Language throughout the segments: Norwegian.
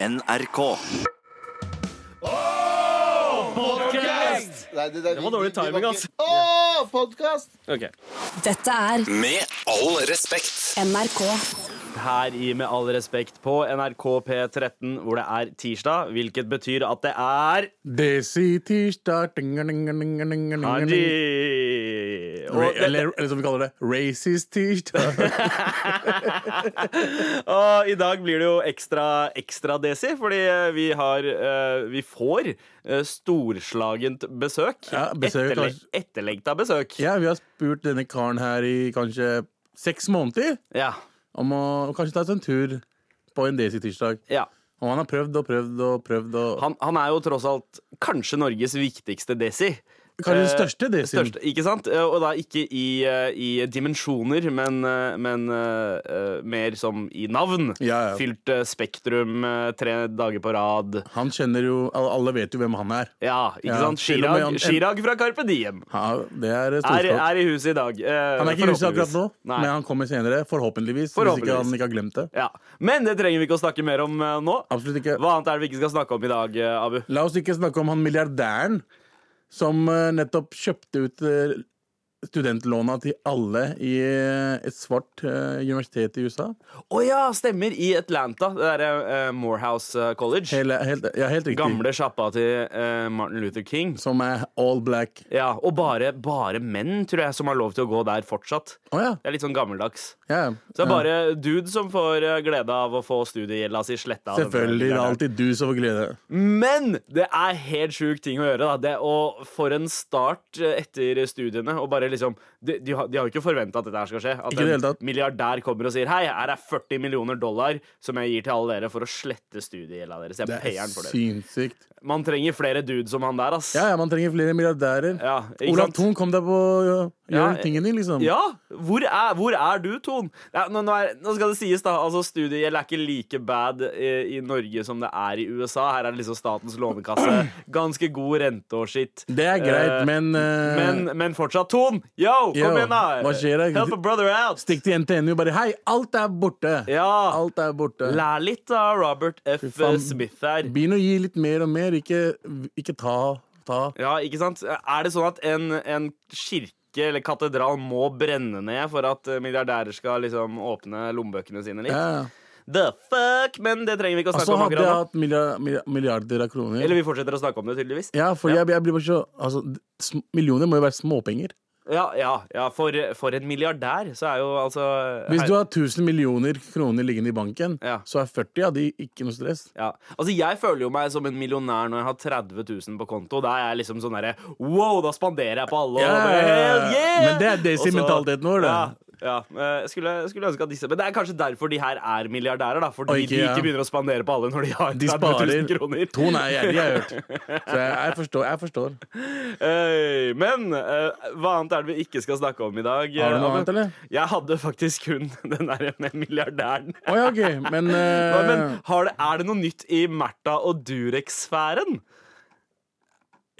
NRK. Nei, det, det, var dårlig timing, altså. Å, podkast! Ok. Dette er Med all respekt. NRK. Her i Med all respekt på NRK P13, hvor det er tirsdag, hvilket betyr at det er Desi tirsdag dingelingelingelingeling. Hardy. Ra- Eller, eller som vi kaller det, racist tirsdag. Og i dag blir det jo ekstra, ekstra desi, fordi eh, vi har eh, Vi får eh, storslagent besøk. Ja, besøk, Etterle kanskje. etterlengta besøk. Ja, vi har spurt denne karen her i kanskje seks måneder Ja. om å kanskje ta seg en tur på en Desi tirsdag. ja. Og han har prøvd og prøvd og prøvd og Han, han er jo tross alt kanskje Norges viktigste desi. Kanskje den Eh, største Desien. Største, ikke sant? Eh, Og da ikke i, eh, i dimensjoner, men, eh, men eh, eh, mer som i navn. Ja, ja. Fylt eh, Spektrum eh, tre dager på rad. Han kjenner jo al- Alle vet jo hvem han er. Ja, ikke Ja, sant? til og Chirag, med han- Chirag fra Carpe Diem Ja, det er er, storskap. er i huset i dag. eh, Han er ikke i huset akkurat nå, forhåpentligvis. Nei. men han kommer senere. Forhåpentligvis. Hvis ikke Forhåpentligvis. han ikke har glemt det. Ja. Men det trenger vi ikke å snakke mer om eh, nå. Absolutt ikke. Hva annet er det vi ikke skal snakke om i dag, eh, Abu? La oss ikke snakke om han milliardæren som eh, nettopp kjøpte ut eh, studentlåna til alle i eh, et svart eh, universitet i USA. Å ja, stemmer! I Atlanta. Det derre eh, Morehouse eh, College. Hele, helt, ja, helt riktig. Gamle sjappa til eh, Martin Luther King. Som er all black. Ja, Og bare, bare menn, tror jeg, som har lov til å gå der fortsatt. Å ja. Det er litt sånn gammeldags. ja. Så det ja. er bare dude som får eh, glede av å få studiegjelda si sletta. av denne Selvfølgelig. Det er læreren. alltid du som får glede. Men det er helt sjukt ting å gjøre. da det, Og for en start eh, etter studiene. Og bare liksom De, de, har, de har jo ikke forventa at dette her skal skje. At Ikke i det en hele tatt. milliardær kommer og sier Hei, her er 40 millioner dollar som jeg gir til alle dere for å slette studiegjelda deres. Jeg Det payer er den for dere. sinnssykt. Man trenger flere dudes som han der, ass. Ja, ja, man trenger flere milliardærer. Ja, ikke Olav sant? Thon, kom deg på å Ja, gjøre tingen din, liksom. Ja! Hvor er, hvor er du, Ton? Ja, nå, nå, er, nå skal det sies, da. Altså, Studiegjeld er ikke like bad eh, i, i Norge som det er i USA. Her er det liksom Statens lånekasse. Ganske god rente og skitt. Det er greit, Eh, men, eh, men Men fortsatt, Ton! Yo, kom Yo, igjen, da! hva skjer da? Help a brother out! Stikk til NTNU og bare Hei, alt er borte! Ja. Alt er borte. Lær litt av Robert F. faen. Smith her. Begynn å gi litt mer og mer. Ikke, ikke ta, ta. Ja, ikke sant? Er det sånn at en, en kirke eller katedral må brenne ned for at eh, milliardærer skal liksom åpne lommebøkene sine litt? Ja. The fuck! Men det trenger vi ikke å Og snakke så om Altså, hadde akkurat jeg nå. hatt milliard, milliard, milliarder av kroner. Eller vi fortsetter å snakke om det, tydeligvis. ja, for Jeg, jeg blir bare så altså, sm- Millioner må jo være småpenger. Ja, ja, ja for, for en milliardær, så er jo altså Hvis du har 1000 millioner kroner liggende i banken, Ja. så er 40 av de ikke noe stress. ja. Altså, Jeg føler jo meg som en millionær når jeg har 30 000 på konto. Da er jeg liksom sånn derre Wow, da spanderer jeg på alle! og Ja, bare, ja, ja. hell yeah! Men det er det Og så- mentaliteten vår, det. Ja, ja. Eh, Jeg skulle, jeg skulle ønske at disse Men det er kanskje derfor de her er milliardærer, da. Fordi Og ikke- de ikke ja. begynner å spandere på alle når de har De 30 sparer. 000 kroner. Ton er gjerrig, har jeg hørt. Så jeg, jeg forstår. Jeg forstår. Hey, men eh, hva annet er det vi ikke skal snakke om i dag? Eh, Har du noe Abu? annet, eller? Jeg hadde faktisk kun den der med milliardæren. Å ja, OK. Men, eh, Hva, men har det, er det noe nytt i Märtha og Durek-sfæren?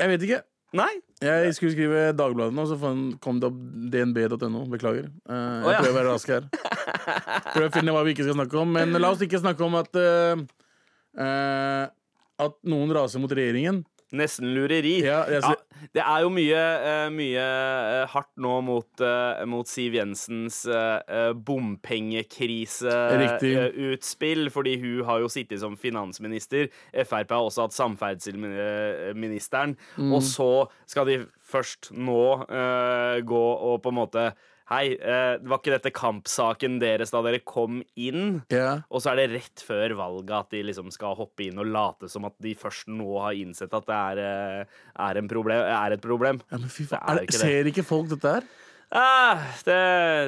jeg vet ikke. Nei? Jeg skulle skrive Dagbladet nå, så fan- kom det opp dnb.no. Beklager. Eh, jeg Å, ja. prøver å være rask her. Prøver å finne hva vi ikke skal snakke om. Men la oss ikke snakke om at eh, eh, At noen raser mot regjeringen. Nesten lureri. Ja, jeg ser- det er jo mye, eh, mye eh, hardt nå mot, eh, mot Siv Jensens eh, Riktig. bompengekriseutspill, eh, fordi hun har jo sittet som finansminister. Frp har også hatt samferdselsministeren. Mm. Og så skal de først nå eh, gå og på en måte Hei, eh, var ikke dette kampsaken deres da dere kom inn? Ja. Og så er det rett før valget at de liksom skal hoppe inn og late som at de først nå har innsett at det er, eh, er, en problem, er et problem. Ja, men fy Det faen, er det, Ser ikke folk dette her? Ah, det,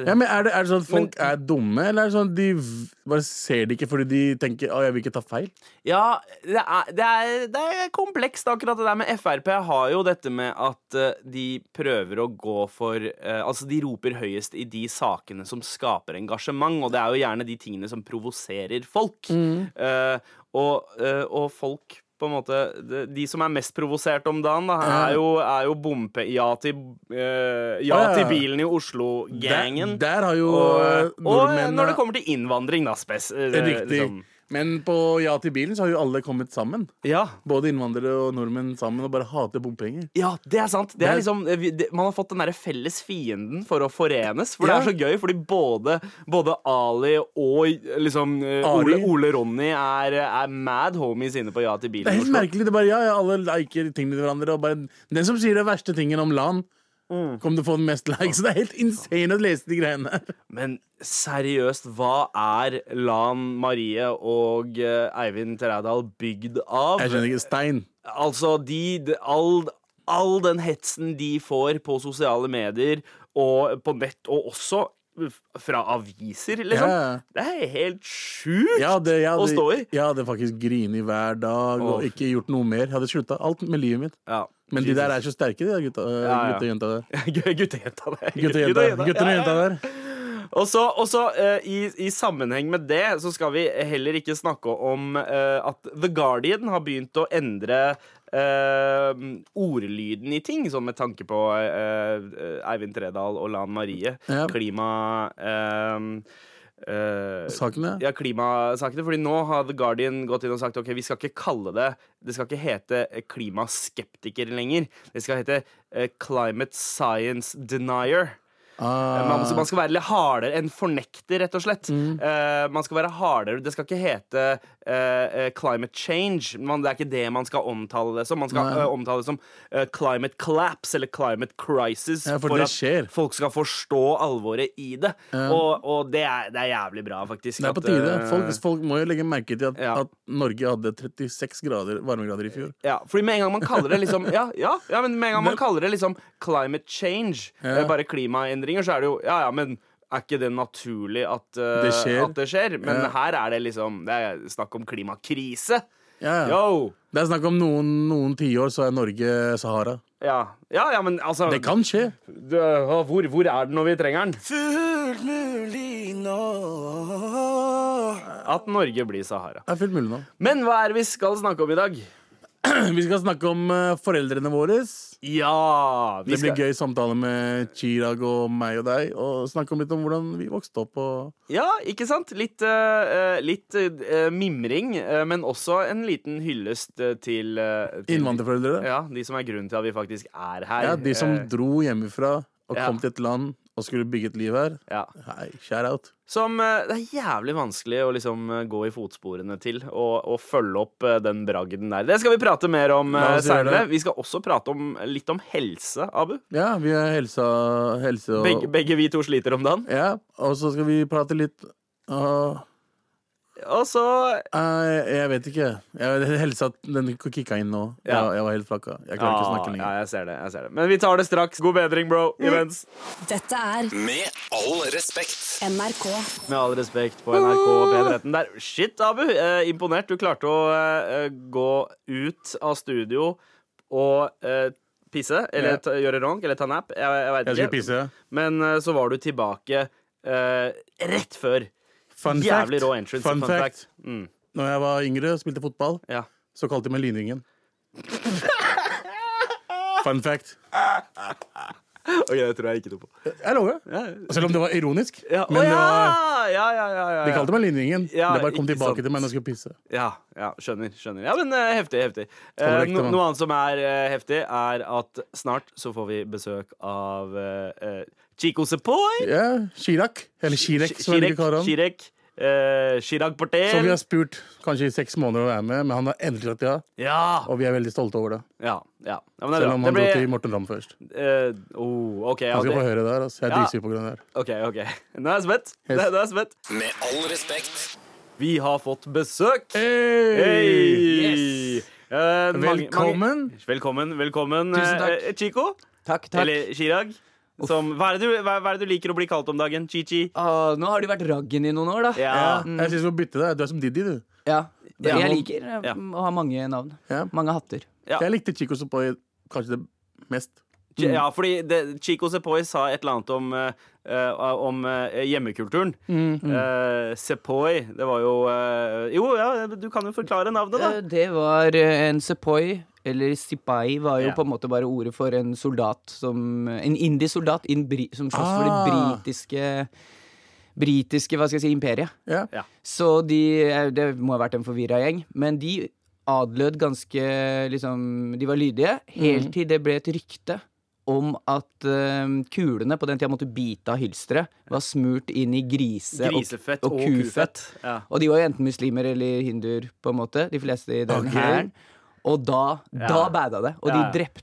Ja, men er, det, er det sånn at folk er dumme, eller er det sånn at de v- bare ser det ikke fordi de tenker å, jeg vil ikke ta feil? Ja, det er, det, er, det er komplekst akkurat det der med Frp har jo dette med at eh, de prøver å gå for eh, Altså, de roper høyest i de sakene som skaper engasjement, og det er jo gjerne de tingene som provoserer folk. Eh, og, eh, og folk på en måte, de- De som er mest provosert om dagen, da, er jo, er jo bompe... Ja til, eh, ja Ja, ja. til bilen i Oslo-gangen. Der, der har jo Og, eh, og nordmenn eh, når det kommer til innvandring, da, spes... eh, Riktig. liksom. Men på Ja til bilen så har jo alle kommet sammen. Ja. Både innvandrere og nordmenn sammen og bare hater bompenger. ja, det er sant. Det er Det- liksom, eh, vi- det, man har fått den derre felles fienden for å forenes. For det Ja. er så gøy, fordi både, både Ali og eh, liksom, eh, Ari. Ole, Ole Ronny er, er mad homies inne på Ja til bilen. Det er helt Oslo. merkelig. det er bare, ja, ja, Alle liker tingene til hverandre. Og bare, den som sier de verste tingen om LAN, Mm. kommer til å få den mest likes. Så det er helt insane å lese de greiene her. Men seriøst, hva er Lan Marie og eh, Eivind Trædal bygd av? Jeg skjønner ikke. Stein. Altså, de, de all, all den hetsen de får på sosiale medier og på nett, og også fra aviser, liksom. Ja, ja. Det er helt sjukt Ja, det, jeg å stå i. hadde, jeg hadde faktisk grini hver dag Å, og ikke gjort noe mer. Jeg hadde slutta alt med livet mitt. Ja. Men de der er så sterke, de der gutta, ja. gutta og jenta der. Guttejenta der. Gutta og jenta, gutter og Ja, ja, jenta ja. der. Og så, og så eh, i, i sammenheng med det, så skal vi heller ikke snakke om eh, at The Guardian har begynt å endre eh, ordlyden i ting, sånn med tanke på eh, eh, Eivind Tredal og Lan Marie. Ja. Klima... eh, eh, Sakene. ja, klimasakene. Fordi nå har The Guardian gått inn og sagt ok, vi skal ikke kalle det Det skal ikke hete eh, klimaskeptiker lenger. Det skal hete eh, climate science denier. Ah, Eh, Man, så man skal være litt hardere enn fornekter, rett og slett. Mm. Eh, man skal være hardere Det skal ikke hete eh, eh, climate change. Man, det er ikke det man skal omtale det som. Man skal Nei. eh, omtale det som eh, climate collapse eller climate crisis. Ja, for det at skjer. folk skal forstå alvoret i det. Og, og det, er, det er jævlig bra, faktisk. det er på at, tide. eh, Folk, folk må jo legge merke til at, Ja. at Norge hadde 36 grader, varmegrader i fjor. Ja, fordi med en gang man kaller det liksom Ja, ja, ja men med en gang man kaller det liksom climate change, Ja. eh, bare klimaendringer, så er det jo Ja, ja, men er ikke det naturlig at, eh, Det skjer. at det skjer? Men Ja. her er det liksom Det er snakk om klimakrise. Ja, ja. Yo! Det er snakk om noen, noen tiår, så er Norge Sahara. Ja, ja, ja men altså Det kan skje. det- å, hvor, hvor er den når vi trenger den? Fullt mulig nå At Norge blir Sahara. Det er fullt mulig nå. Men hva er det vi skal snakke om i dag? Vi skal snakke om eh, foreldrene våre. Ja! Vi Det skal, blir gøy samtale med Chirag og meg og deg. Og snakke om litt om hvordan vi vokste opp. Og Ja, ikke sant? Litt, eh, eh, litt eh, mimring, eh, men også en liten hyllest eh, til, eh, til innvandrerforeldre. Ja, de som er grunnen til at vi faktisk er her. Ja, de som Eh, dro hjemmefra og ja. kom til et land og skulle bygge et liv her. ja. Hei, shout out. Som eh, det er jævlig vanskelig å liksom eh, gå i fotsporene til og, og følge opp eh, den bragden der. Det skal vi prate mer om La eh, oss gjøre seinere. det. Vi skal også prate om, eh, litt om helse, Abu. Ja, vi har helsa, helse og Begge, begge vi to sliter om dagen. Ja, og så skal vi prate litt Åh, Og så eh, Jeg vet ikke. Jeg, helsa den kicka inn nå. Ja. Jeg, jeg var helt flakka. Jeg klarer ikke å snakke Ah, lenger. Mm. Ja, jeg ser det. jeg ser det Men vi tar det straks. God bedring, bro. Imens. Dette er Med all respekt. NRK. Med all respekt på NRK og P13 der. Shit, Abu. Eh, imponert. Du klarte å eh, gå ut av studio og eh, pisse. Eller Ja. ta, gjøre ronk, eller ta nap. Jeg, jeg veit Jeg ikke. skal pisse. Men eh, så var du tilbake eh, rett før. Fun Jævlig fact. rå entrance. Fun fact. Mm, Når jeg var yngre og spilte fotball, ja. så kalte de meg Lynvingen. Fun fact. OK, det tror jeg ikke noe på. Jeg lover. Ja, Selv om det var ironisk. ja. Men Å, det var, ja! ja, ja, ja, ja, de ja. kalte meg Lynvingen. Ja, det bare kom ikke tilbake sant. til meg når jeg skulle pisse. Ja, ja, skjønner. skjønner Ja, men eh, heftig. heftig Eh, Korrekt, no, mann. Noe annet som er eh, heftig, er at snart så får vi besøk av eh, eh, Chico Sepoy. Ja, Chirac. Eller Chirek, som jeg Chirek, liker å kalle han. Chirek, eh, Chirag Som vi Patel. har spurt kanskje i seks måneder å være med, men han har endelig sagt ja. Ja, Og vi er veldig stolte over det. ja, ja. ja men det er Selv bra. om Det han dro blir til Morten Ramm først. eh, oh, OK. Ja, Han skal få det, høre det her. Altså. Jeg er Ja. dritsur på grunn av det her. ok, ok Nå er jeg spent. Nå Yes. er jeg spent. Med all respekt. Vi har fått besøk. Hey! Eh, mange- Velkommen. Mange, velkommen. velkommen Tusen takk. eh, Chico. Takk, takk. Eller Chirag. Som, hva, er det du, hva, hva er det du liker å bli kalt om dagen? Chichi? Åh, Ah, nå har du vært raggen i noen år, da. Ja, Ja. Mm. jeg syns vi må bytte deg. Du er som Didi, du. Ja. Ja. Jeg liker eh, Ja. å ha mange navn. Ja. Mange hatter. Ja. Jeg likte Chico Sopoy kanskje det mest. Chi- Mm. ja, fordi det, Chico Sepoy sa et eller annet om, eh, eh, om eh, hjemmekulturen. Mm, Eh, Sepoy, det var jo eh, Jo, ja, du kan jo forklare navnet, da. Eh, Det var eh, en sepoy, eller sipai, var jo Ja. på en måte bare ordet for en soldat som En indisk soldat i en bri, som slåss for det Ah. britiske britiske hva skal jeg si, imperiet. Ja. Ja. Så de eh, Det må ha vært en forvirra gjeng. Men de adlød ganske liksom De var lydige Mm. helt til det ble et rykte om at eh, kulene på den tida måtte bite av hylsteret, var smurt inn i grise og, Grisefett og kufett. Ja. Og de var jo enten muslimer eller hinduer, på en måte, de fleste i Ok. den hæren. Og da, da bada det. Og Ja, ja. de drepte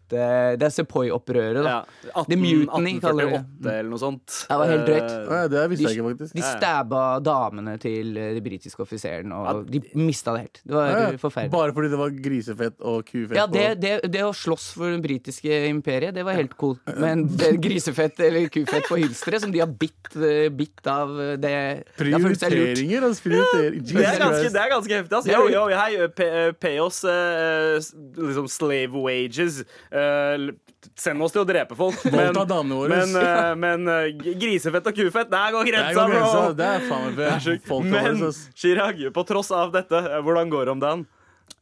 Det er Sepoy-opprøret, da. Ja. 18, The Mutiny, kaller de det. 1848 eller noe sånt. Ja, det var helt drøyt. Eh, Å ja, det visste jeg ikke, De faktisk. ja. stabba damene til eh, de britiske offiseren, og de mista det helt. Det var Ja, eh, forferdelig. Bare fordi det var grisefett og kufett. Ja, det, og- det, det å slåss for det britiske imperiet, det var helt cool. Men det grisefett eller kufett på hylsteret, som de har bitt, eh, bitt av eh, det det har følt seg lurt. Prioriteringer, altså. Prioriteringer. Det Jesus er ganske, Christ. det er ganske heftig. ass. Det er Yo, det. yo, hei, eh, pay, eh, pay oss eh, s- liksom slave wages. Eh, l- send oss til å drepe folk. Men, Voldta damene våre. men, eh, men eh, g- grisefett og kufett, der går Det er grensa, jo grensa. bro! Det er faen meg for folk sånn Men over, ass. Chirag, på tross av dette, eh, hvordan går det om dagen?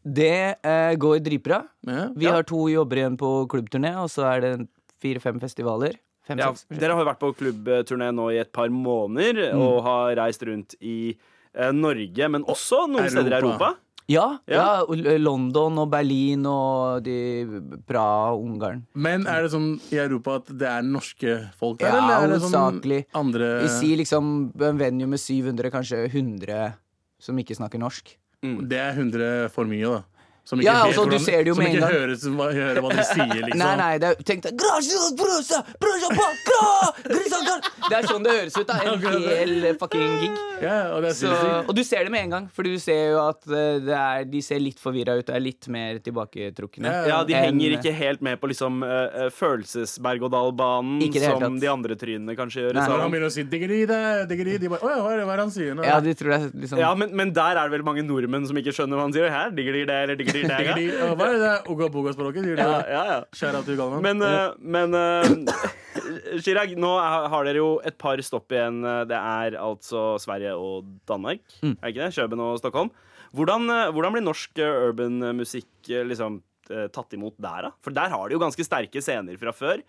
Det eh, går dritbra. Ja. Vi har to jobber igjen på klubbturné, og så er det fire-fem festivaler. Fem, Ja, seks. dere har jo vært på klubbturné nå i et par måneder Mm. og har reist rundt i eh, Norge, men også noen steder i Europa. Europa. ja, ja. Ja. og L- London og Berlin og de Praha og Ungarn. Men er det sånn i Europa at det er norske folk der, Ja, eller er det hovedsakelig. sånn andre Vi Eh. sier liksom en venue med 700, kanskje 100, som ikke snakker norsk. Det er 100 for mye, da. Som ikke, Mm. Ja, vet altså, du hvordan- ser det jo som med ikke en gang. hører, som, hva- hører hva dere sier, liksom. Nei, nei, det er, tenk deg «Gracias, brusa, brusa, baka, grisa, gra-» Det er sånn det høres ut, da. En hel fucking gig. Ja, og det er Så, og du ser det med en gang, Fordi du ser jo at eh, det er, de ser litt forvirra ut og er litt mer tilbaketrukne. Ja, Ja, de enn- henger ikke helt med på liksom eh, eh, følelsesberg-og-dal-banen Ikke i det hele som tatt. de andre trynene kanskje gjør. liksom. i Nei. Når han salen. begynner å si diggeri, det, diggeri, de bare Å ja, hva er det, hva er det han sier nå? Ja, de tror det er liksom Ja, men, men der er det vel mange nordmenn som ikke skjønner hva han sier. Her digger de det, eller digger de det. Diggeri, og hva er det der oga-boga-språket? Sier de Ja, det? ja, ja. Shout out til Galvan. Men, eh, men eh, Chirag, nå er- har dere jo et par stopp igjen. Det er altså Sverige og Danmark. Er det ikke det? Kjøben og Stockholm. Hvordan, eh, hvordan blir norsk eh, urban musikk eh, liksom eh, tatt imot der, da? For der har de jo ganske sterke scener fra før.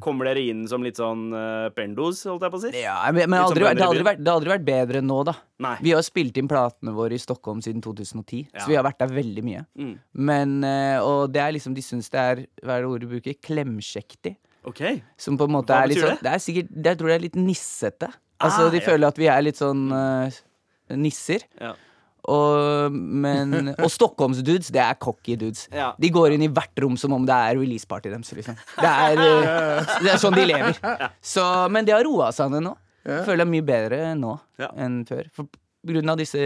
Kommer dere inn som litt sånn eh, pendos, holdt jeg på å si? Ja, men men Litt sånn som aldri, vært- det, bønder i har aldri vært, det har aldri vært bedre enn nå, da. Nei. Vi har jo spilt inn platene våre i Stockholm siden 2010, Ja. så vi har vært der veldig mye. Mm. Men, eh, og det er liksom, de syns det er, hva er det ordet du bruker, klemskjektig. OK. Som på en måte Hva er litt betyr det? sånn Det er sikkert, det- jeg tror det er litt nissete. Altså, Ah, de ja. føler at vi er litt sånn eh, nisser. Ja. Og, men, og Stockholmsdudes, det er cocky dudes. Ja. De går inn i hvert rom som om det er releaseparty deres. Liksom. Det, er, eh, det er sånn de lever. Så, men det har roa seg ned nå. Føler jeg mye bedre nå Ja. enn før. For, på grunn av disse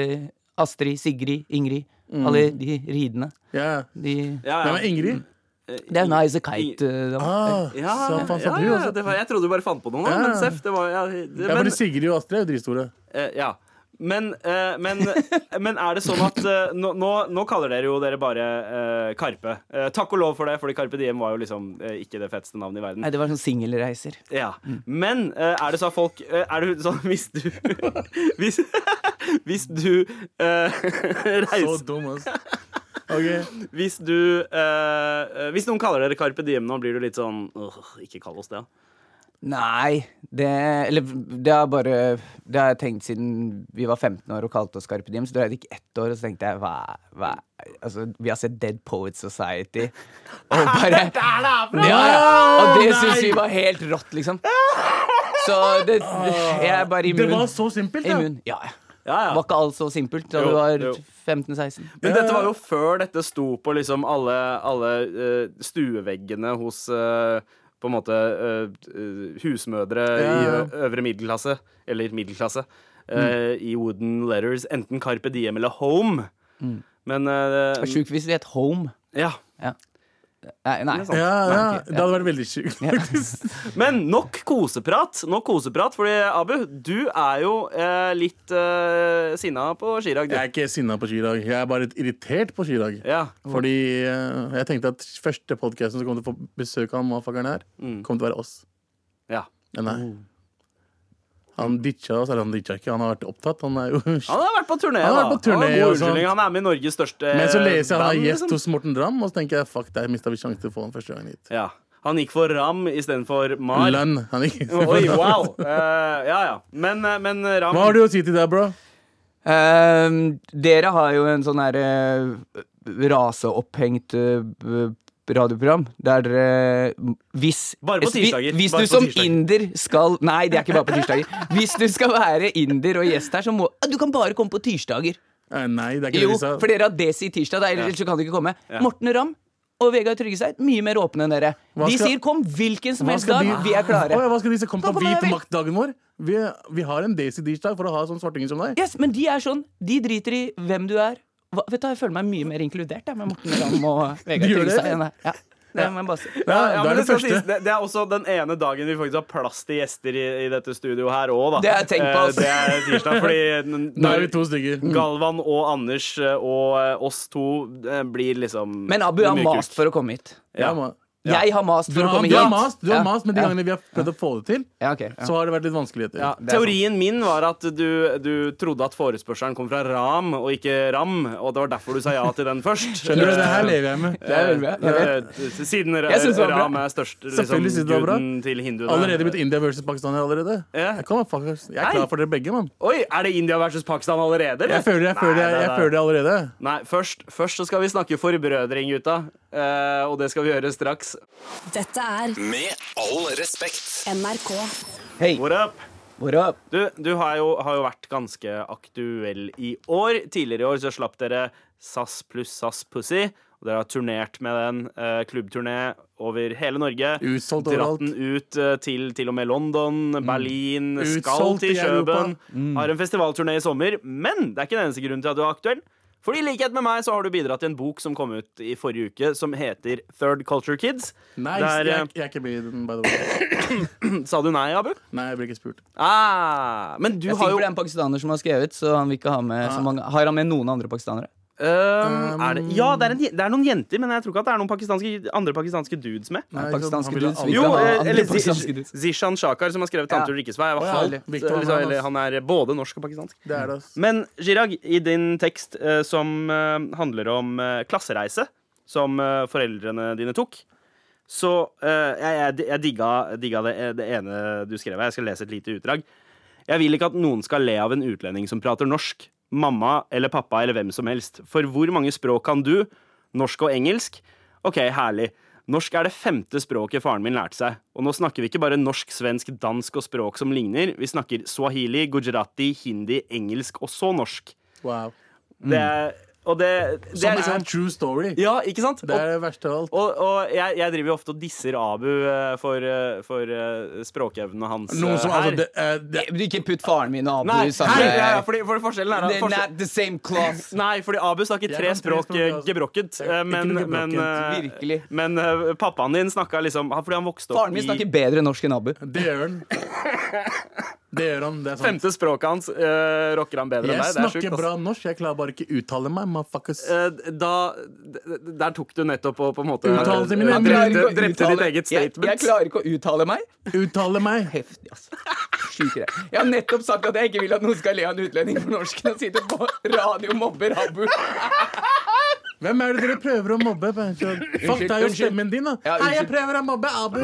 Astrid, Sigrid, Ingrid. Alle de ridende. ja. De, Ja, Hvem ja. er Ingrid? Mm. det er Nice Kite. eh, da. Ah, Ja, så faen, sa ja, du ja, også. det var, jeg trodde du bare fant på noe, da. Ja. Men seff, det var ja, det, Ja, men, fordi Sigrid og Astrid er jo dritstore. eh, ja. Men, eh, men, men er det sånn at eh, nå, nå, nå kaller dere jo dere bare eh, Karpe. Eh, takk og lov for det, fordi Karpe Diem var jo liksom eh, ikke det feteste navnet i verden. Nei, det var sånn singelreiser. Ja. Men eh, er det sånn at folk eh, Er det sånn hvis du Hvis, hvis du eh, Så reiser dum, ass. Ok. Hvis du eh, Hvis noen kaller dere Karpe Diem nå, blir du litt sånn «Åh, Ikke kall oss det. Nei, det Eller det har bare Det har jeg tenkt siden vi var 15 år og kalte oss Carpe Diem. Så dreide det gikk ett år, og så tenkte jeg hva, hva Altså, vi har sett Dead Poets Society. Og bare ja, ja. Og det syns vi var helt rått, liksom. Så det Jeg er bare Det var immun. så simpelt, da. Immun. Ja, ja. Ja, ja. Var ikke alt så simpelt da Jo, du var jo. 15-16. Men dette var jo før dette sto på liksom alle, alle eh, stueveggene hos eh, på en måte eh, eh, husmødre i Ja. Mm. ø- øvre middelklasse, eller middelklasse, eh, i wooden letters. Enten Carpe Diem eller Home. Mm. Men eh, Det var Sjukt hvis vi het Home. Ja. Nei, nei. sant. Ja, ja. Nei, ok, Det hadde vært veldig sjukt. Men nok koseprat. Nok koseprat, fordi Abu, du er jo eh, litt eh, sinna på Chirag, du. Jeg er ikke sinna på Chirag. Jeg er bare irritert på Chirag. Ja. Fordi eh, jeg tenkte at første podkasten som kom til å få besøk av han motherfuckeren her, kom til å være oss. ja. Men nei. Han ditcha oss, eller han ditcha ikke, han har vært opptatt. Han er jo Han har vært på turné, Han har vært da. på turné han, har god og sånt. unnskyldning. han er med i Norges største Men så leser jeg han band, er liksom. gjest hos Morten Dram, og så tenker jeg fuck, der mista vi sjansen til å få han første gang hit. Ja. Han gikk for Ram istedenfor Mar. Lønn. Han gikk Oi, wow! Eh, ja, ja. Men, eh, men Ram Hva har du å si til det, bro? Eh, Ehm, dere har jo en sånn her eh, raseopphengt eh, b- radioprogram der dere hvis, Bare på tirsdager. hvis, hvis Bare du på som tirsdager. inder skal Nei, det er ikke bare på tirsdager. Hvis du skal være inder og gjest her, så må Du kan bare komme på tirsdager. Eh, Nei, det er ikke Jo, det vi sa. for dere har Desi tirsdag, da, ellers så kan du ikke komme. Morten Ramm og Vegard Tryggeseid, mye mer åpne enn dere. Hva De skal- sier 'kom hvilken som Hva helst skal dag, de- vi er klare'. Å ja, hva skal de som komme Kom på på det, hvit vi- makt-dagen vår? Vi, vi har en Daisy Dish-dag for å ha sånn svartinger som deg. Yes, Men de er sånn, de driter i hvem du er. Hva, vet du, hva, Jeg føler meg mye mer inkludert jeg, med Morten Ramm og Vegard gjør det? Tryggeseid. enn jeg- Ja, det må jeg bare si. Ja, Ja, ja, men du er det, den skal første. sies, det, det er også den ene dagen vi faktisk har plass til gjester i, i dette studioet her òg, da. Det har jeg tenkt på, altså. Eh, ass. Det er tirsdag, fordi n- Nå er når vi to stykker. Galvan og Anders eh, og eh, oss to eh, blir liksom Men Abu har mye mast kult. for å komme hit. Ja, man. Jeg har mast Du for å har, komme du hit. har mast, du har Ja, mast men de ja, gangene vi har prøvd å få det til, Ja, ok, ja. så har det vært litt vanskeligheter. Ja, det er sant. Teorien min var at du, du trodde at forespørselen kom fra Ram og ikke Ram, og det var derfor du sa ja til den først. Skjønner du, det her lever jeg med. Det er veldig bra. Jeg vet. Eh, Siden Ra- Jeg synes det var bra. Ram er størst liksom, Selvfølgelig synes det var bra. guden til hinduene. Allerede blitt India versus Pakistan her allerede. Ja. Jeg, kan, faktisk- jeg Nei. er klar for dere begge, mann. Oi, er det India versus Pakistan allerede? eller? Jeg føler jeg, Nei, føler jeg, nei, jeg nei. føler det allerede. Nei, først, først så skal vi snakke forbrødring, gutta. Eh, og det skal vi gjøre straks. Dette er Med all respekt. NRK. Hei, What up? what up? Du, du har, jo, har jo vært ganske aktuell i år. Tidligere i år så slapp dere SAS pluss SAS Pussy. Og dere har turnert med den. Eh, klubbturné over hele Norge. Utsolgt Dratt overalt. den ut eh, til til og med London, Berlin, skal Utsolgt til i Europa. Kjøben. Har en festivalturné i sommer. Men det er ikke den eneste grunnen til at du er aktuell. Fordi i likhet med meg så har du bidratt til en bok som kom ut i forrige uke, som heter Third Culture Kids. Nice. Der, jeg, jeg er ikke med i den, by the way. Sa du nei, Abu? Nei, jeg blir ikke spurt. Ah, men du Jeg er har sikker jo på det er en pakistaner som har skrevet, så han vil ikke ha med Ah. så mange. Har han med noen andre pakistanere? Um, Øhm, er det, ja, det er, en, je- det er noen jenter, men jeg tror ikke at det er noen pakistanske, andre pakistanske dudes med. Nei, pakistanske han ville dudes aldri- vil Jo, ikke ha eh, andre eller pakistanske dudes. Zi- Zishan Shakar, som har skrevet 'Tante Ja. Ulrikkes vei'. er ja, halvt, Victor liksom, Hansen. eller Han er både norsk og pakistansk. Det er det, ass. Men Chirag, i din tekst eh, som eh, handler om eh, klassereise, som eh, foreldrene dine tok, så eh, jeg, jeg, jeg digga, digga det, eh, det ene du skrev. Jeg skal lese et lite utdrag. Jeg vil ikke at noen skal le av en utlending som prater norsk. Mamma eller pappa eller hvem som helst. For hvor mange språk kan du? Norsk og engelsk? Ok, herlig. Norsk er det femte språket faren min lærte seg. Og nå snakker vi ikke bare norsk, svensk, dansk og språk som ligner. Vi snakker swahili, gujarati, hindi, engelsk og så norsk. Wow. Mm. Det er, og det, det Som er er, liksom true story. Ja, ikke sant? Det Og, er det verste av alt. og, og jeg, jeg driver jo ofte og disser Abu eh, for, eh, for eh, språkevnene hans. eh, Noen som her. altså det, eh, det, Du, Ikke putt faren min og Nei, Abu i samme her, ja, ja, fordi, for forskjellen er at They're forskjell- not the same class. Nei, fordi Abu snakker Jeg tre kan tre språk språk, eh, altså. gebrokket. Ikke eh, Men, noe men, gebrokket, eh, virkelig. men eh, pappaen din snakka liksom Fordi han vokste opp Faren min snakker bedre norsk enn Abu. det gjør han. Det gjør han. Det er i sant. Femte språket hans eh, rocker han bedre enn Jeg deg. Det er sjukt. snakker ass. bra norsk, jeg klarer bare ikke uttale meg. motherfuckers. Eh, Da, d- d- der tok du nettopp og på en måte Uttalelsen min, eh, jeg klarer drepte, ikke å drepte ditt uttale- eget jeg, statement. jeg klarer ikke å uttale meg. Uttale meg! Heftig, altså. Sjukt greit. Jeg har nettopp sagt at jeg ikke vil at noen skal le av en utlending for norsken og sitter på radio og mobber Abu. Hvem er det dere prøver å mobbe? Benjamin? Fuck deg og unnskyld. stemmen din, da. Ja, Hei, jeg unnskyld. prøver å mobbe Abu.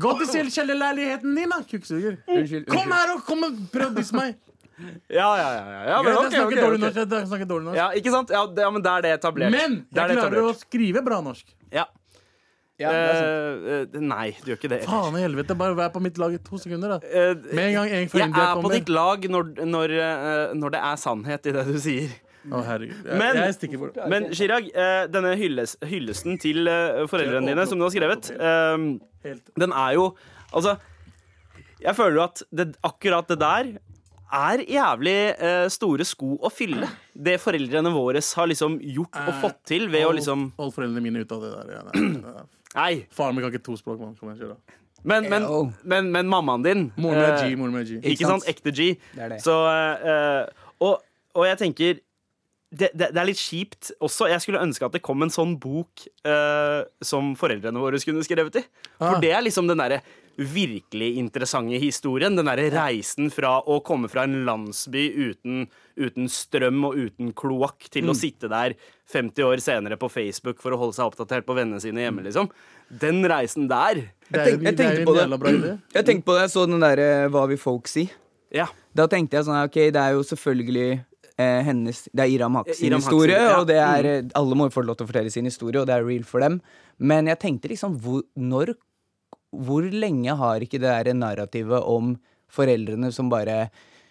Gå til selvkjellerleiligheten din, da, kukksuger. Unnskyld, Kom unnskyld. her og kom og prøv å disse meg. Ja, ja, ja. ja, ja men, Greit, jeg ok, snakker ok, dårlig ok. norsk. Jeg snakker dårlig norsk. Ja, ikke sant? Ja, det, ja, men da er det etablert. Da Men er jeg det klarer å etablert. skrive bra norsk. Ja. Ja, det er sant. Eh, eh, nei, du gjør ikke det. Faen i helvete, bare vær på mitt lag i to sekunder, da. Eh, Med en gang en fra jeg India er på kommer. ditt lag når, når, eh, når det er sannhet i det du sier. Å, herregud. Men- Jeg, jeg stikker for det. Men Chirag, eh, denne hylles, hyllesten til eh, foreldrene dine som du har skrevet, eh, Helt. den er jo Altså, jeg føler jo at det, akkurat det der er jævlig eh, store sko å fylle. Det foreldrene våre har liksom gjort og fått til ved å liksom Hold- Hold foreldrene mine ut av det der. Ja, nei, nei, nei. Nei, Faren min kan ikke to språk, mann. Kom igjen, kjør, da. men, men, Ew. men, men mammaen din Moren min er eh, G. moren min er G. Ikke Ikke sant? sant? Ekte G. Det er det. Så, eh, og, og jeg tenker det, det, det er litt kjipt også. Jeg skulle ønske at det kom en sånn bok eh, som foreldrene våre skulle skrevet i. For Ah. det er liksom den derre virkelig interessante historien. Den derre reisen fra å komme fra en landsby uten, uten strøm og uten kloakk til Mm. å sitte der 50 år senere på Facebook for å holde seg oppdatert på vennene sine hjemme, liksom. Den reisen der. Det er Jeg, jo tenk, jeg det er tenkte jo på en jævla bra idé. det. Jeg tenkte på det, jeg så den derre Hva vil folk si? Ja. Da tenkte jeg sånn her, Ok, det er jo selvfølgelig eh, hennes Det er Iram Haq sin Iram Haq sin, historie, ja. Mm. og det er eh, Alle må jo få lov til å fortelle sin historie, og det er real for dem. Men jeg tenkte liksom hvor, Når Hvor lenge har ikke det der narrativet om foreldrene som bare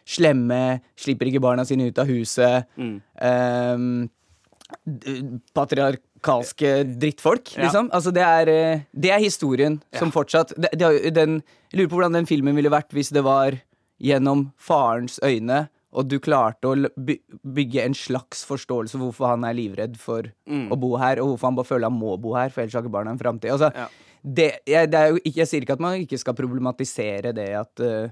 Slemme, slipper ikke barna sine ut av huset. Mm. ehm, d- patriarkalske drittfolk, Ja. liksom. Altså, det er, eh, det er historien som fortsatt det, det, har jo- den, Jeg lurer på hvordan den filmen ville vært hvis det var gjennom farens øyne, og du klarte å l- by- bygge en slags forståelse for hvorfor han er livredd for Mm. å bo her, og hvorfor han bare føler han må bo her, for ellers har ikke barna en framtid. Altså, Ja. det, jeg, det er jo ikke, jeg sier ikke at man ikke skal problematisere det at eh,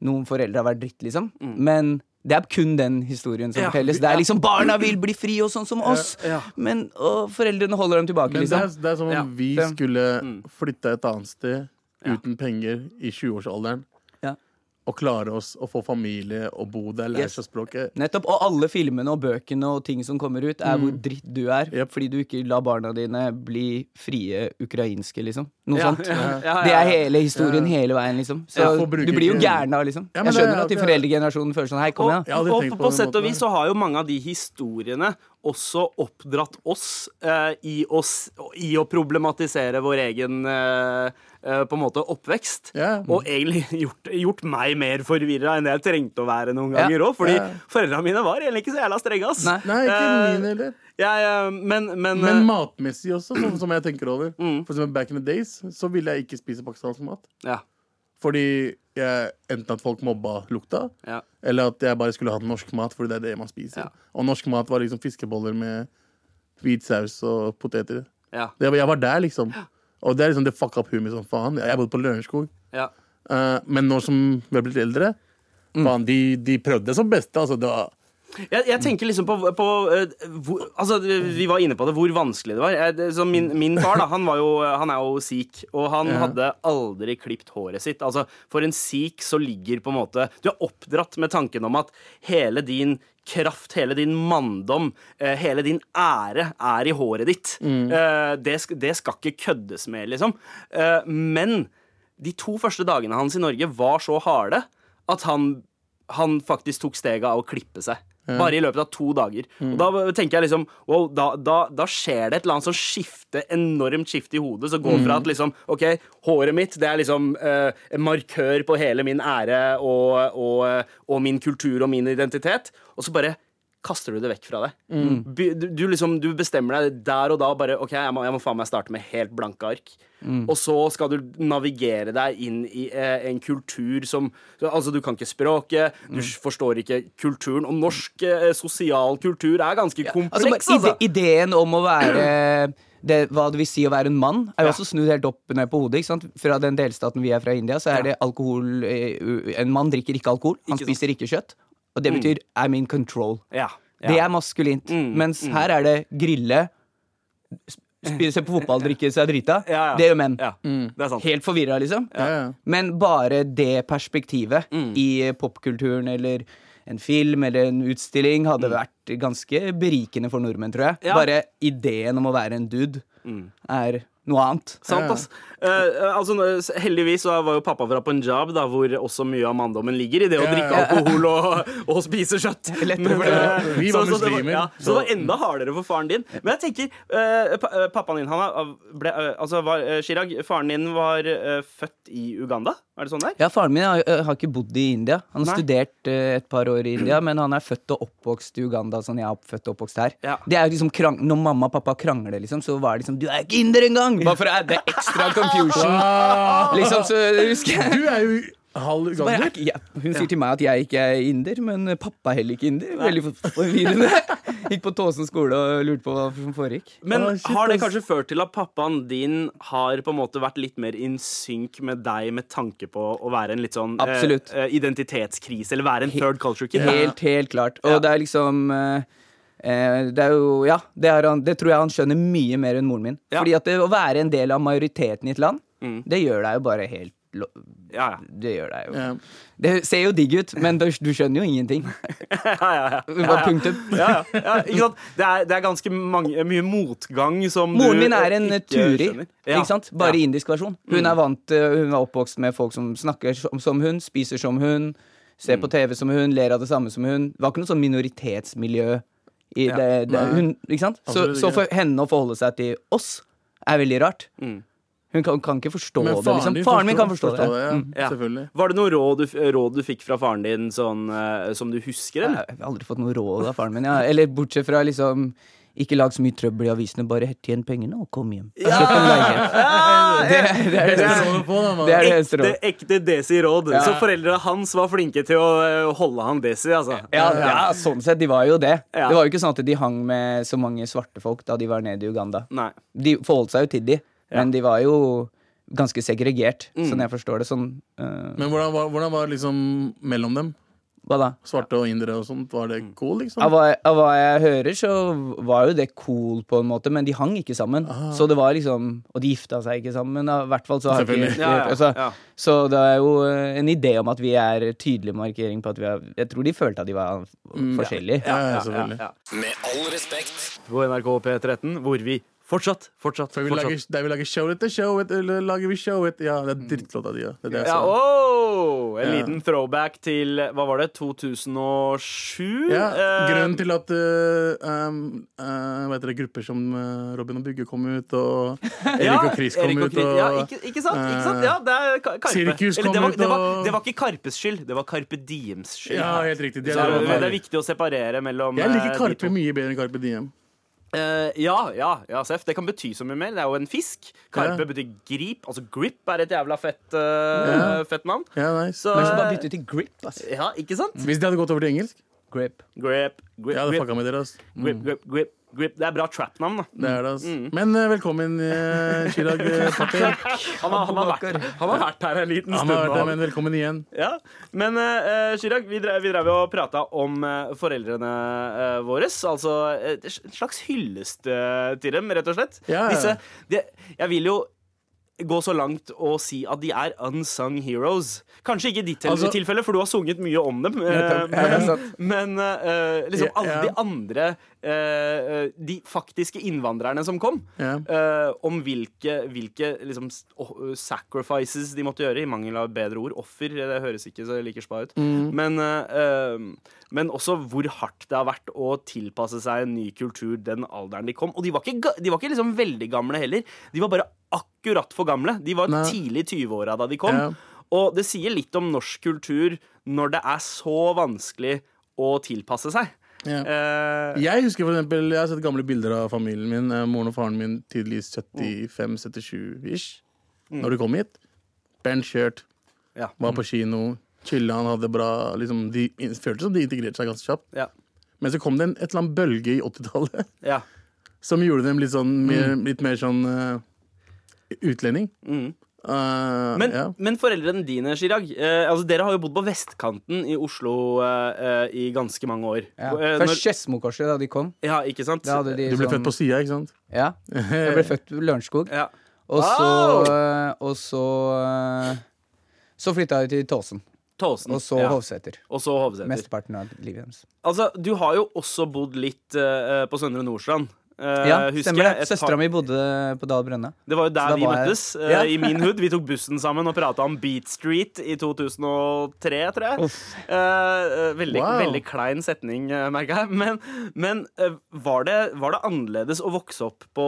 noen foreldre har vært dritt, liksom, Mm. men det er kun den historien som Ja, fortelles. vi- Det ja. er liksom barna vil bli fri og sånn som oss, ja. men og foreldrene holder dem tilbake, Men det er, liksom. det er som om Ja. Mm. vi Det- skulle flytta et annet sted uten penger i 20-årsalderen. Ja. Og klare oss å få familie og bo der, lære Yes. seg språket. Nettopp, Og alle filmene og bøkene og ting som kommer ut, Mm. er hvor dritt du er. Yep. Fordi du ikke lar barna dine bli frie ukrainske, liksom. Noe Ja, sånt. ja, ja, ja, Det ja. er hele historien hele veien, liksom. Så Ja, for du bruker blir jo ikke- gæren da, liksom. Ja, men det jeg er- skjønner at de det er- foreldregenerasjonen føler sånn Hei, kom igjen. Jeg har aldri og tenkt på, på den sett og måten vis der. så har jo mange av de historiene også oppdratt oss eh, i, å s- i å problematisere vår egen eh, eh, på en måte oppvekst. Ja. Og egentlig gjort, gjort meg mer forvirra enn jeg trengte å være noen Ja. ganger òg. Fordi Ja. foreldrene mine var egentlig ikke så jævla strenge, ass. Nei. Nei, ikke Eh, min heller. Jeg, eh, men, men, Men eh, matmessig også, sånn som jeg tenker over. Mm. For eksempel back in the days så ville jeg ikke spise pakistansk mat. ja, Fordi jeg, enten at folk mobba lukta, ja. eller at jeg bare skulle hatt norsk mat, fordi det er det man spiser. Ja. Og norsk mat var liksom fiskeboller med hvit saus og poteter. Ja, Det, jeg var der, liksom. Og det er liksom det fucka up humor som faen. Jeg bodde på Lørenskog. ja. Eh, men nå som vi har blitt eldre, Mm. faen, de, de prøvde som beste. Altså, det var Jeg, jeg tenker liksom på, på eh, hvor, altså, Vi var inne på det, hvor vanskelig det var. Jeg, det- så min, min far da, han, var jo, han er jo sikh, og han hadde aldri klipt håret sitt. Altså, For en sikh så ligger på en måte Du er oppdratt med tanken om at hele din kraft, hele din manndom, eh, hele din ære er i håret ditt. Eh, det, sk- det skal ikke køddes med, liksom. Eh, men de to første dagene hans i Norge var så harde at han, han faktisk tok steget av å klippe seg. Bare i løpet av to dager. Og da tenker jeg liksom wow, da, da, da skjer det et eller annet sånn skifte, enormt skifte i hodet, som går fra at liksom OK, håret mitt det er liksom eh, en markør på hele min ære og, og, og min kultur og min identitet, og så bare kaster du det vekk fra deg. Mm. By- Du, du, liksom, du bestemmer deg der og da bare OK, jeg må, jeg må faen meg starte med helt blanke ark. Mm. Og så skal du navigere deg inn i eh, en kultur som så, Altså, du kan ikke språket, du Mm. s- forstår ikke kulturen. Og norsk eh, sosial kultur er ganske Altså, kompleks, bare altså. ide ideen om å være det, hva det vil si å være en mann, er jo også snudd helt opp ned på hodet. Ikke sant? Fra den delstaten vi er fra India, så er det alkohol eh, u- En mann drikker ikke alkohol, han Ikke sant. spiser ikke kjøtt. Og det betyr I'm in control. Ja, ja. Mm, Det er maskulint. Mens her er det grille, sp- sp- se på fotball, drikke seg drita. Ja, ja. Det gjør menn. Mm. Ja, det er sant. Helt forvirra, liksom. ja, ja. Men bare det perspektivet Mm. i eh, popkulturen eller en film eller en utstilling hadde vært ganske berikende for nordmenn, tror jeg. Mm. Ja. Mm. Bare ideen om å være en dude er noe annet. Sant, ass. Eh, eh, altså, nå- s- heldigvis så var jo pappa fra Punjab, da, hvor også mye av manndommen ligger i det å drikke alkohol og, og spise kjøtt. Lettere for deg. eh, Vi var det muslimer, ja, så det var så- enda hardere for faren din. Men jeg tenker, eh, pa- eh, pappaen din, han er, av- ble, eh, altså, var, eh, Chirag, faren din var eh, født i Uganda? Er det sånn der? Ja, Faren min har, eh, har ikke bodd i India. Han har Nei. studert eh, et par år i India, men han er født og oppvokst i Uganda. Sånn jeg er født og oppvokst her Ja. Det er jo liksom krang Når mamma og pappa krangler, liksom, så var det liksom 'Du er ikke inder engang!' Bare for å adde ekstra confusion. Ah, Liksom, så husker jeg Du er jo halv Bare, er ugander. ikke- jeg- hun sier til meg at jeg ikke er inder, men pappa er heller ikke inder. Veldig forvirrende. Gikk på Tåsen skole og lurte på hva som foregikk. Men Å, shit, har det ass. kanskje ført til at pappaen din har på en måte vært litt mer in sync med deg med tanke på å være en litt sånn eh, Absolutt. eh, identitetskrise, eller være en third culture kid? Helt, helt klart. Og det er liksom eh, eh, Det er jo Ja, det, har han, det tror jeg han skjønner mye mer enn moren min. Ja. Mm. Fordi at det, å være en del av majoriteten i et land, det gjør deg jo bare helt lo, Ja, ja. Det gjør deg jo. Ja. Det ser jo digg ut, men du, du skjønner jo ingenting. ja, ja, ja. Det var punktum. ja, ja, ja, ikke sant? Det er, det er ganske mange, mye motgang som Moren du min er en ikke turi, skjønner. Ja, ikke sant? bare ja. indisk versjon. Hun er vant eh, Hun er oppvokst med folk som snakker som, som hun, spiser som hun, ser på TV som hun, ler av det samme som hun. Det var ikke noe sånn minoritetsmiljø i Ja. det, det Nei. hun, ikke sant? Så, Absolutt ikke. så for henne å forholde seg til oss er veldig rart. Hun kan, kan ikke forstå Men det. Liksom. din Faren min kan forstå, forstår det. Mm, ja. Ja. Selvfølgelig. Var det noe råd du, råd du fikk fra faren din sånn, eh, som du husker, eller? Jeg har aldri fått noe råd av faren min. Ja. Eller bortsett fra liksom ikke lag så mye trøbbel i avisene, bare tjen pengene og kom hjem. Slipp en leilighet. Det, det er det Det må eneste- du få, da, mann. det er det eneste Ekte, rådet. ekte Desi-råd. Ja. Så foreldrene hans var flinke til å eh, holde han Desi, altså. Ja, ja, sånn sett, de var jo det. Ja. Det var jo ikke sånn at de hang med så mange svarte folk da de var nede i Uganda. Nei. De forholdt seg jo til de, men de var jo ganske segregert, sånn jeg forstår det. Sånn, øh, Men hvordan var, hvordan var liksom mellom dem? hva da? Svarte og indere og sånt? Var det cool, liksom? Av Mm. hva, av hva jeg hører, så var jo det cool, på en måte, men de hang ikke sammen. Så det var liksom Og de gifta seg ikke sammen. da. I hvert fall så har jeg Selvfølgelig. ikke Ja, ja, altså, ja. Så det er jo eh, en idé om at vi er tydelig markering på at vi er Jeg tror de følte at de var forskjellige. Ja, ja, selvfølgelig. Med all respekt. På NRK P13, hvor vi fortsatt, fortsatt, For vi lager, fortsatt der vi lager show etter show etter eller lager vi show etter Ja, det er drittlåta di, ja. Det er det jeg ja, sa. oh, En Ja. liten throwback til Hva var det? 2007? Ja, Eh, grunnen til at eh, um, eh, hva heter det, grupper som eh, Robin og Bugge kom ut, og Erik og Chris kom Erik og ut, Chris- og Eh, ja, ikke, ikke sant? Ikke sant? Ja, det er Ka- Karpe. Sirkus Eller, det, kom var, ut, det, var, og- det var ikke Karpes skyld, det var Carpe Diems skyld. Ja, helt riktig. De er Så det, det, det er viktig å separere mellom Jeg eh, liker de to. Karpe mye bedre enn Karpe Diem. Eh, ja, ja, ja, Seff. Det kan bety så mye mer. Det er jo en fisk. Karpe Ja. betyr grip. Altså grip er et jævla fett, eh, fett navn. Ja, nice. Så- Men så bare bytte til grip, ass. Ja, ikke sant? Hvis de hadde gått over til engelsk, Grip. Grip, grip, jeg hadde grip, fucka med dere. ass. grip, grip, grip, grip. Det er bra trap-navn, da. Det er det, ass. Mm. Men eh, velkommen, eh, Chirag eh, Patel. Han har, han, har vært, han har vært her en liten Han stund. har vært nå. der, men velkommen igjen. Ja, Men eh, eh, Chirag, vi drev, vi drev jo og prata om eh, foreldrene eh, våre. Altså eh, en slags hyllest eh, til dem, rett og slett. Ja, ja. Disse, de, jeg vil jo gå så langt og si at de er unsung heroes. Kanskje ikke i ditt Altså- tilfelle, for du har sunget mye om dem. eh, Nettopp. Ja, det er men sant. men eh, liksom alle Ja. de andre eh, eh, De faktiske innvandrerne som kom. Ja. eh, om hvilke, hvilke liksom, s- å- sacrifices de måtte gjøre, i mangel av bedre ord. Offer. eh, Det høres ikke så like spa ut. Mm. Men, eh, eh, men også hvor hardt det har vært å tilpasse seg en ny kultur den alderen de kom. Og de var ikke, ga- de var ikke liksom veldig gamle heller. De var bare akkurat for gamle. De var Nei. tidlig i 20-åra da de kom. Ja. Og det sier litt om norsk kultur når det er så vanskelig å tilpasse seg. Ja. Eh, Jeg husker for eksempel, jeg har sett gamle bilder av familien min. eh, Moren og faren min tidlig Mm. 75-77-ish. Når de kom hit. Bernt Kjørt Ja. var på kino. Chilla, han hadde bra liksom, De in- følte som de integrerte seg ganske kjapt. ja, Men så kom det en et eller annet bølge i 80-tallet ja. som gjorde dem litt, sånn, mer, Mm. litt mer sånn eh, utlending. Eh, Men, ja. men foreldrene dine, Chirag, eh, altså dere har jo bodd på vestkanten i Oslo eh, eh, i ganske mange år. Ja. Eh, Først Skedsmokorset, da de kom. ja ikke sant? Da hadde de Du ble sånn, født på sida, ikke sant? Ja. Jeg ble født ved Lørenskog. ja. Og Wow! så øh, Og så øh, Så flytta jeg til Tåsen, Tåsen. og så ja. Hovseter. Og så Hovseter. Mesteparten av livet deres. Altså, du har jo også bodd litt eh, på Søndre Nordstrand. Eh, Ja, husker stemmer jeg det. et par- Søstera mi bodde på Dal Brønne. Det var jo Så da der vi var jeg- møttes, eh, Ja. i min hood. Vi tok bussen sammen og prata om Beat Street i 2003, tror jeg. Uff. Eh, eh, veldig, Wow. veldig klein setning, eh, merker jeg. Men, men eh, var, det, var det annerledes å vokse opp på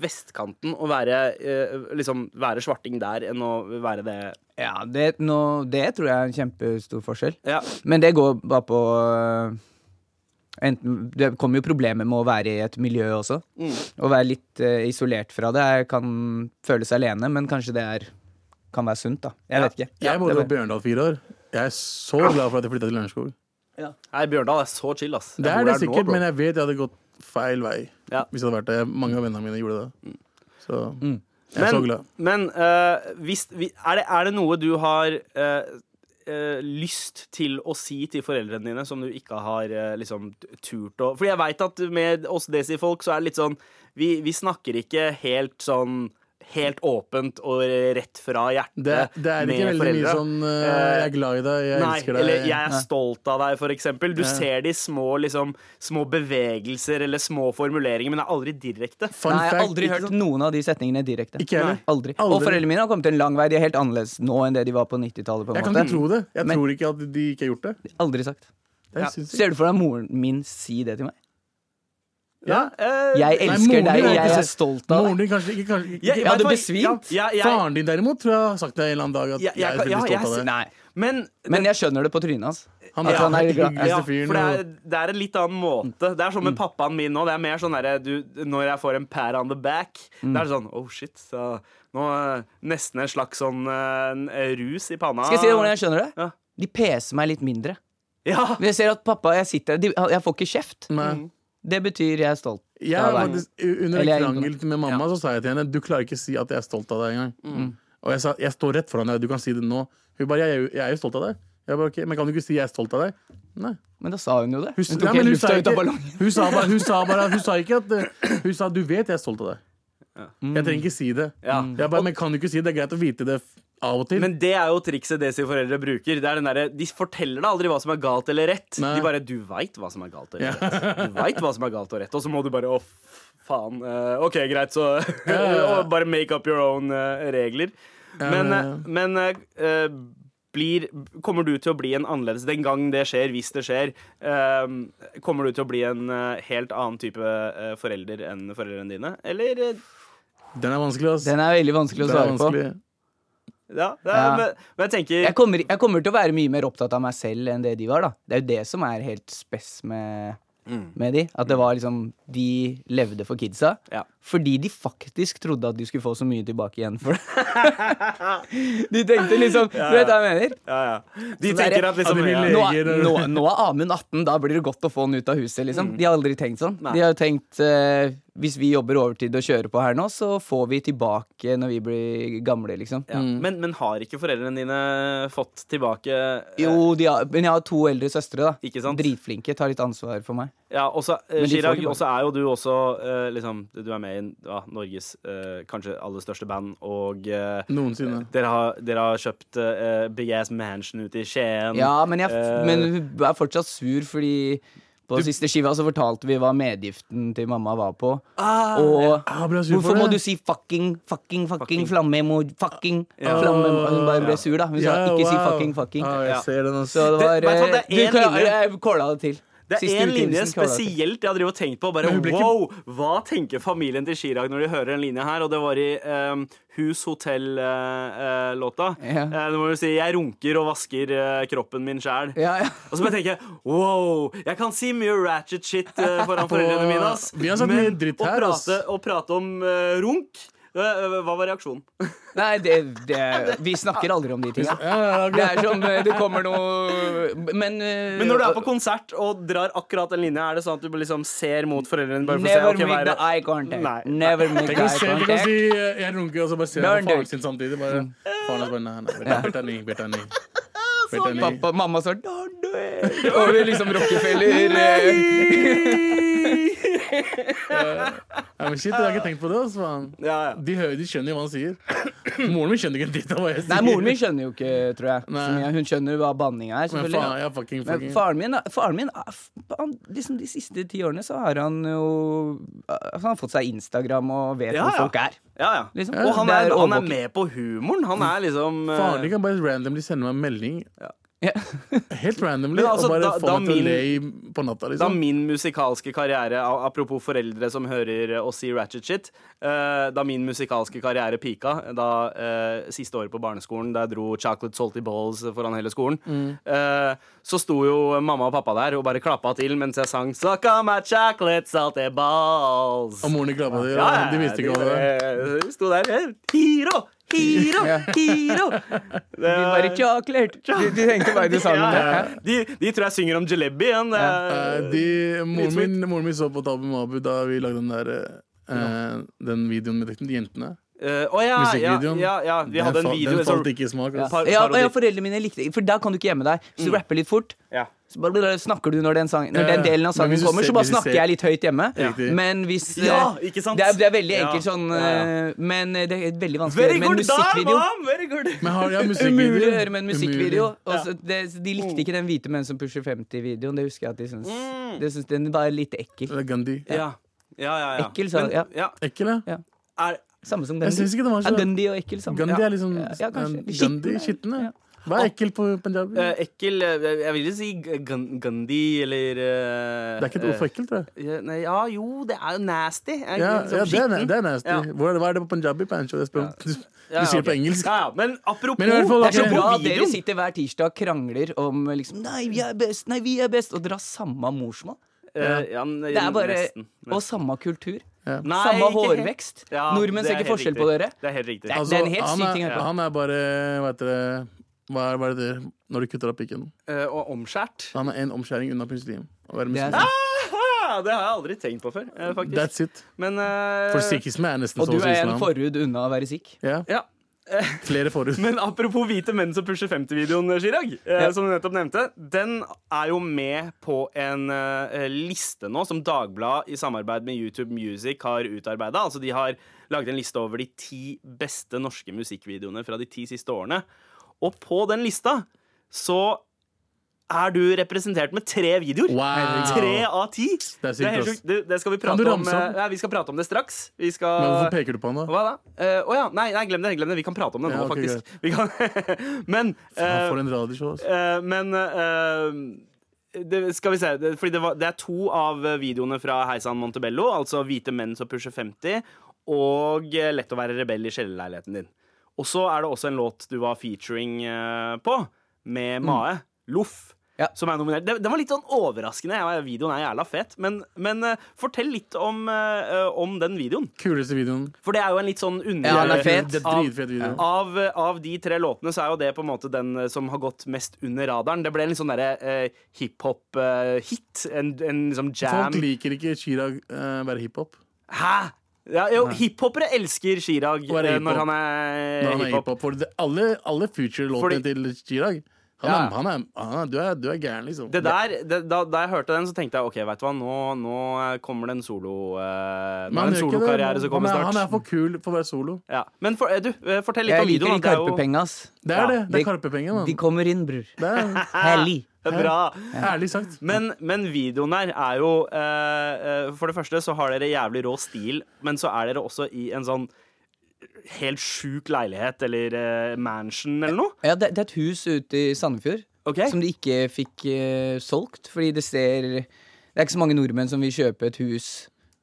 vestkanten og være, eh, liksom, være svarting der enn å være det Ja, det, nå, det tror jeg er en kjempestor forskjell. Ja. Men det går bare på øh, Enten, det kommer jo problemer med å være i et miljø også. Mm. Å være litt øh, isolert fra det er, kan føles alene, men kanskje det er, kan være sunt, da. Jeg vet ikke. Jeg bodde det på var- Bjørndal fire år. Jeg er så Ah. glad for at jeg flytta til Lørenskog. Nei, Bjørndal er så chill, ass. Jeg Det bor er det der nå, sikkert, bro. men jeg vet jeg hadde gått feil vei. Ja. Hvis det hadde vært det. Mange av vennene mine gjorde det. Så jeg er så Mm. Men, glad. men eh, hvis, vi- er, det, er det noe du har eh, eh, lyst til å si til foreldrene dine som du ikke har eh, liksom t- turt å Fordi jeg veit at med oss desi-folk så er det litt sånn Vi, vi snakker ikke helt sånn helt åpent og rett fra hjertet Det, det er ikke med veldig foreldre. Eh, mye sånn eh, 'jeg er glad i deg, jeg Nei, elsker deg'. eller 'jeg er stolt av deg', for eksempel. Du ser de små, liksom, små bevegelser eller små formuleringer, men det er aldri direkte. Fun Nei, jeg har fact, aldri ikke hørt sant? noen av de setningene direkte. Ikke jeg heller. Nei, aldri. Aldri. Og foreldrene mine har kommet en lang vei. De er helt annerledes nå enn det de var på 90-tallet. på en Jeg kan måte. ikke tro det. Jeg Men- tror ikke at de ikke har gjort det. Aldri sagt. Det er Ja. sinnssykt. Ser du for deg moren min si det til meg? Ja. Eh, Jeg Nei, elsker moren din deg, har jeg ikke er sett- stolt av Moren deg. din kanskje ikke kanskje, jeg- Jeg hadde vet hva, besvimt. Ja, ja, jeg, Faren din derimot tror jeg har sagt det en eller annen dag at Ja, jeg Ah, jeg, er kan- veldig ja, stolt jeg av ser- deg. Nei. men Men jeg skjønner det på trynet hans. Han At er han den er glad- hyggeligste ja, fyren. for det er, det er en litt annen måte. Det er sånn med Mm. pappaen min nå. Det er mer sånn derre du- Når jeg får en pat on the back, Mm. det er sånn oh shit. Så, nå, eh, nesten en slags sånn eh, en rus i panna. Ah. Skal jeg si deg hvordan jeg skjønner det? Ja. De peser meg litt mindre. Ja, Men jeg ser at pappa jeg sitter de, Jeg får ikke kjeft. Mm. og- Nei. Det betyr jeg er stolt. Jeg av har deg. faktisk, u- under Eller en jeg er krangel med mamma Ja. så sa jeg til henne Du klarer ikke å si at jeg er stolt av deg engang. Mm. Og jeg sa jeg står rett foran deg, du kan si det nå. Hun bare jeg, er jo- jeg er jo stolt av deg. Jeg bare, ok, men kan du ikke si jeg er stolt av deg? Nei. Men da sa hun jo det. Hun Nei, tok men helt sa lufta ut av ikke- ballongen. Hun sa bare, hun sa bare hun sa ikke at eh, Hun sa du vet jeg er stolt av deg. Jeg trenger ikke si det. Ja. Jeg bare, men kan du ikke si det? Det er greit å vite det f- av og til. Men det er jo trikset det sine foreldre bruker. Det er den derre, de forteller deg aldri hva som er galt eller rett. Nei. De bare 'du veit hva som er galt og rett'. Du vet hva som er galt Og rett Og så må du bare 'å, f- faen'. eh, OK, greit, så ja, ja. og Bare make up your own eh, regler. Men, ja, ja. eh, men eh, eh, blir, kommer du til å bli en annerledes Den gang det skjer, hvis det skjer, eh, kommer du til å bli en eh, helt annen type eh, forelder enn foreldrene dine? Eller eh, Den er vanskelig, ass. Den er veldig Den vanskelig å er svare på. vanskelig. Ja, det er, Ja. Men, men jeg tenker Jeg kommer, jeg kommer til å være mye mer opptatt av meg selv enn det de var. da Det er jo det som er helt spess med, Mm. med de. At det var liksom De levde for kidsa. Ja. Fordi de faktisk trodde at de skulle få så mye tilbake igjen for det. de tenkte liksom Du vet hva jeg mener? ja, ja. De Så det er- tenker at liksom Ja, de vil ja. Nå, Leger er- og- Mm. nå, nå er Amund 18, da blir det godt å få han ut av huset. liksom De har aldri tenkt sånn. De har jo tenkt eh, hvis vi jobber overtid og kjører på her nå, så får vi tilbake når vi blir gamle, liksom. Ja. Men, men har ikke foreldrene dine fått tilbake eh, Jo, de har, men jeg har to eldre søstre, da. Ikke sant? Dritflinke. Tar litt ansvar for meg. Ja, også, eh, Men de får Chirag, tilbake. også er jo du også eh, liksom, Du er med i ja, Norges eh, kanskje aller største band, og eh, Noensinne. dere, har, dere har kjøpt eh, Big Ass Mansion ute i Mm. Skien. Ja, men, jeg, Eh, men hun er fortsatt sur fordi på siste skiva så fortalte vi hva medgiften til mamma var på. og Ah, ble jeg sur for hvorfor må det? du si fucking, fucking, Fucking. fucking, flammemo, fucking Ja. flammemo? Hun bare ble sur, da. Hun sa Ja, ikke si wow. fucking, fucking. Ah, Ja. jeg ser den, ass. Så det Det- var i hvert fall det er eh, én du, linje. Jeg kåla det til. det Siste er én linje utgivelsen kåla det til. spesielt jeg driver og tenker på. Bare, Men hun ble ikke- wow, Hva tenker familien til Chirag når de hører den linja her? Og det var i eh, Hus eh, Hotell-låta. Ja. Eh, det må jo si 'Jeg runker og vasker eh, kroppen min sjæl'. Ja, ja. Og så bare tenker jeg wow, jeg kan si mye ratchet shit eh, foran foreldrene mine, ass. Vi har sagt men mye dritt å her, ass. prate, å prate om eh, runk eh, eh, Hva var reaksjonen? Nei, det, det, vi snakker aldri om de Ja, tinga. ja, ja, Det er som eh, det kommer noe Men, eh, Men når du er på konsert og drar akkurat den linja, er det sånn at du liksom ser mot foreldrene bare for å Never se ok, hva make er the det? eye contact. Nei. Never make Tenk å the eye se, tenk å contact. si eh, jeg runker, og så bare ser jeg Burn på faren dick. sin samtidig. Bare, Mm. faren hans bare nei, nei, Bert- Bert er ny, Bert er ny. Bert er ny. Pappa, mamma sa «Don't do it!» Over liksom Rockefeller. eh, Ja, men shit, jeg har ikke tenkt på det. ass, faen. Ja, ja. De, hører, de skjønner jo hva han sier. Moren min skjønner ikke en dritt av hva jeg sier. Nei, moren min skjønner jo ikke, tror jeg. Nei. Så mye. Hun skjønner hva banninga er, Men faen, selvfølgelig. jeg er fucking Men fucking faren min, faren min ah, f- han, liksom De siste ti årene så har han jo ah, Han har fått seg Instagram og vet Ja, hvor ja. folk er. Ja, ja. Liksom, Og han det er, er han er overvåking. med på humoren. Han er liksom eh, Faren din kan bare randomly sende meg en melding Ja. Helt randomly Men altså, og bare da- få da meg til min- å le i- på natta. Da liksom min musikalske karriere a- Apropos foreldre som hører oss si ratchet shit. eh, da min musikalske karriere pika, da eh, siste året på barneskolen, da jeg dro chocolate salty balls foran hele skolen, Mm. eh, så sto jo mamma og pappa der og bare klappa til mens jeg sang Suck on my chocolate salty balls. Og moren din klappa til. Ja, eh, og De visste ikke hva det var. var. De sto der. eh, Hiro! Hiro! Hiro! Det De bare var- chocolate. De, de tenkte bare de sa noe. Ja, Ja, ja. De, de tror jeg synger om jalebi igjen. det er- Eh, de, moren, min, moren min så på Tabu Mabu da vi lagde den der eh, eh, Den videoen med de jentene. Eh, Å ja, ja, Musikkvideoen. ja, ja, vi Den hadde en fa- video. Den en sånn falt ikke i smak. altså. ass. par- Ja, og parodi. ja, foreldrene mine likte det, for da kan du ikke gjemme deg. Hvis du rapper litt fort, Ja. så bare bare snakker du når den, sangen, når Ja, ja. den delen av Men hvis sangen du kommer, ser- så bare hvis du snakker ser- jeg litt høyt hjemme. Riktig. Men hvis eh, Ja, ikke sant? Det er, det er veldig Ja. enkelt sånn Ja, ja. eh, Men eh, det er veldig vanskelig å Very gjøre med en good der, musikkvideo. mom! Very good. Men har, ja, musikkvideo. Umulig å gjøre med en musikkvideo. Umulig. Og så det, de likte ikke den hvite menn som pusher 50-videoen. Det husker jeg at de syntes. Mm. De syntes den var litt ekkel. Eller Gandhi. Ja, ja, ja. ja. Ekkel, sa Men- ja. ja. Ekkel, ja. Er, Samme som Jeg Gandhi. syns ikke det var Ja, så Gandhi og ekkel sammen. Gandhi ja. er liksom Ja, kanskje. eh, Gandhi Skitten, ja. skitten, ja. Ja. Hva er ekkel på punjabi? eh, ekkel eh, Jeg vil jo si G- Gan- Gandhi eller eh, Det er ikke et ord for ekkel, tror jeg. eh, ja, nei, ja, jo, det er jo nasty. Er, Ja, sånn ja, det, er, skitten. det er nasty. Ja. Hvor er det, hva er det på punjabi? Pancho? Jeg spør om- Du, Ja, du sier det ok. på engelsk. Ja, ja. Men apropos Men i hvert fall, Det er så Ok. bra at videoen. dere sitter hver tirsdag og krangler om liksom, Nei, vi er best, nei, vi er best og dere har samme morsmål. Eh, ja, n- Det er bare, nesten. Og samme kultur. Nei, samme ikke helt. hårvekst. Ja, Nordmenn det ser er ikke helt forskjell riktig. på dere. Det er helt altså. riktig. Det er- det er en helt Altså, han, syk ting å er, høre på. han er bare Hva heter det Hva er, hva er det når du kutter av pikken? Eh, og omskjært. Han er en omskjæring unna muslim. Å være Det er muslim. sant. Ah, det har jeg aldri tenkt på før, eh, faktisk. That's it. Men eh, For sikhisme er nesten Og så du som er en islam. forhud unna å være sikh. Ja, ja. flere forhud. Men apropos hvite menn som pusher 50-videoen, Chirag, eh, Ja. som du nettopp nevnte, den er jo med på en eh, liste nå som Dagbladet i samarbeid med YouTube Music har utarbeida. Altså, de har laget en liste over de ti beste norske musikkvideoene fra de ti siste årene. Og på den lista så er du representert med tre videoer. Wow. Tre av ti. er sykt, helt ass. sjukt. Det, det skal vi du prate om. ramse opp? eh, Ja, vi skal prate om det straks. Vi Men skal hvorfor peker du på han, da? hva da? Eh, Å ja, nei, nei, glem det. glem det Vi kan prate om det nå, Ja, ok, faktisk. Vi kan, men Han eh, får en radioshow. ass. eh, Men eh, det, skal vi se. Det, fordi det, var, det er to av videoene fra Hei sann Montebello, altså Hvite menn som pusher 50, og eh, Lett å være rebell i kjellerleiligheten din. Og så er det også en låt du var featuring eh, på, Mm. med Mae. Loff. Ja. Som er nominert. Den, den var litt sånn overraskende. Jeg var- Videoen er jævla fet. Men, men eh, fortell litt om, eh, om den videoen. Kuleste videoen. For det er jo en litt sånn under... Ja, den er fet. Det er dritfet video. Av, av de tre låtene så er jo det på en måte den eh, som har gått mest under radaren. Det ble en litt sånn derre eh, hiphop-hit. en en liksom jam. Folk liker ikke Chirag eh, være hiphop. Hæ?! Ja, jo, hiphopere elsker Chirag Og er det eh, hiphop? når han er Når han er hiphop. hiphop. For det, alle, alle future-låtene Fordi- til Chirag han er, Ja. han er, han er, du, er, du er gæren, liksom. Det der, det, da, da jeg hørte den, så tenkte jeg OK, vet du hva, nå, nå eh, kommer det en solo eh, Nå Men er det en gjør ikke det. solokarriere som kommer han, er, han er snart. for kul for å være solo. Ja. Men for, eh, du, eh, fortell litt Jeg om liker videoen. de da. Det er jo- karpepenga, ass. Det er Ja, det. Det de- er karpepenger, De mann. kommer inn, bror. Det er Herlig. Det er Bra. ærlig sagt. Men, men videoen her er jo eh, eh, For det første så har dere jævlig rå stil, men så er dere også i en sånn helt sjuk leilighet eller eh, mansion eller noe. Ja, det, det er et hus ute i Sandefjord Ok. som de ikke fikk eh, solgt. Fordi det ser Det er ikke så mange nordmenn som vil kjøpe et hus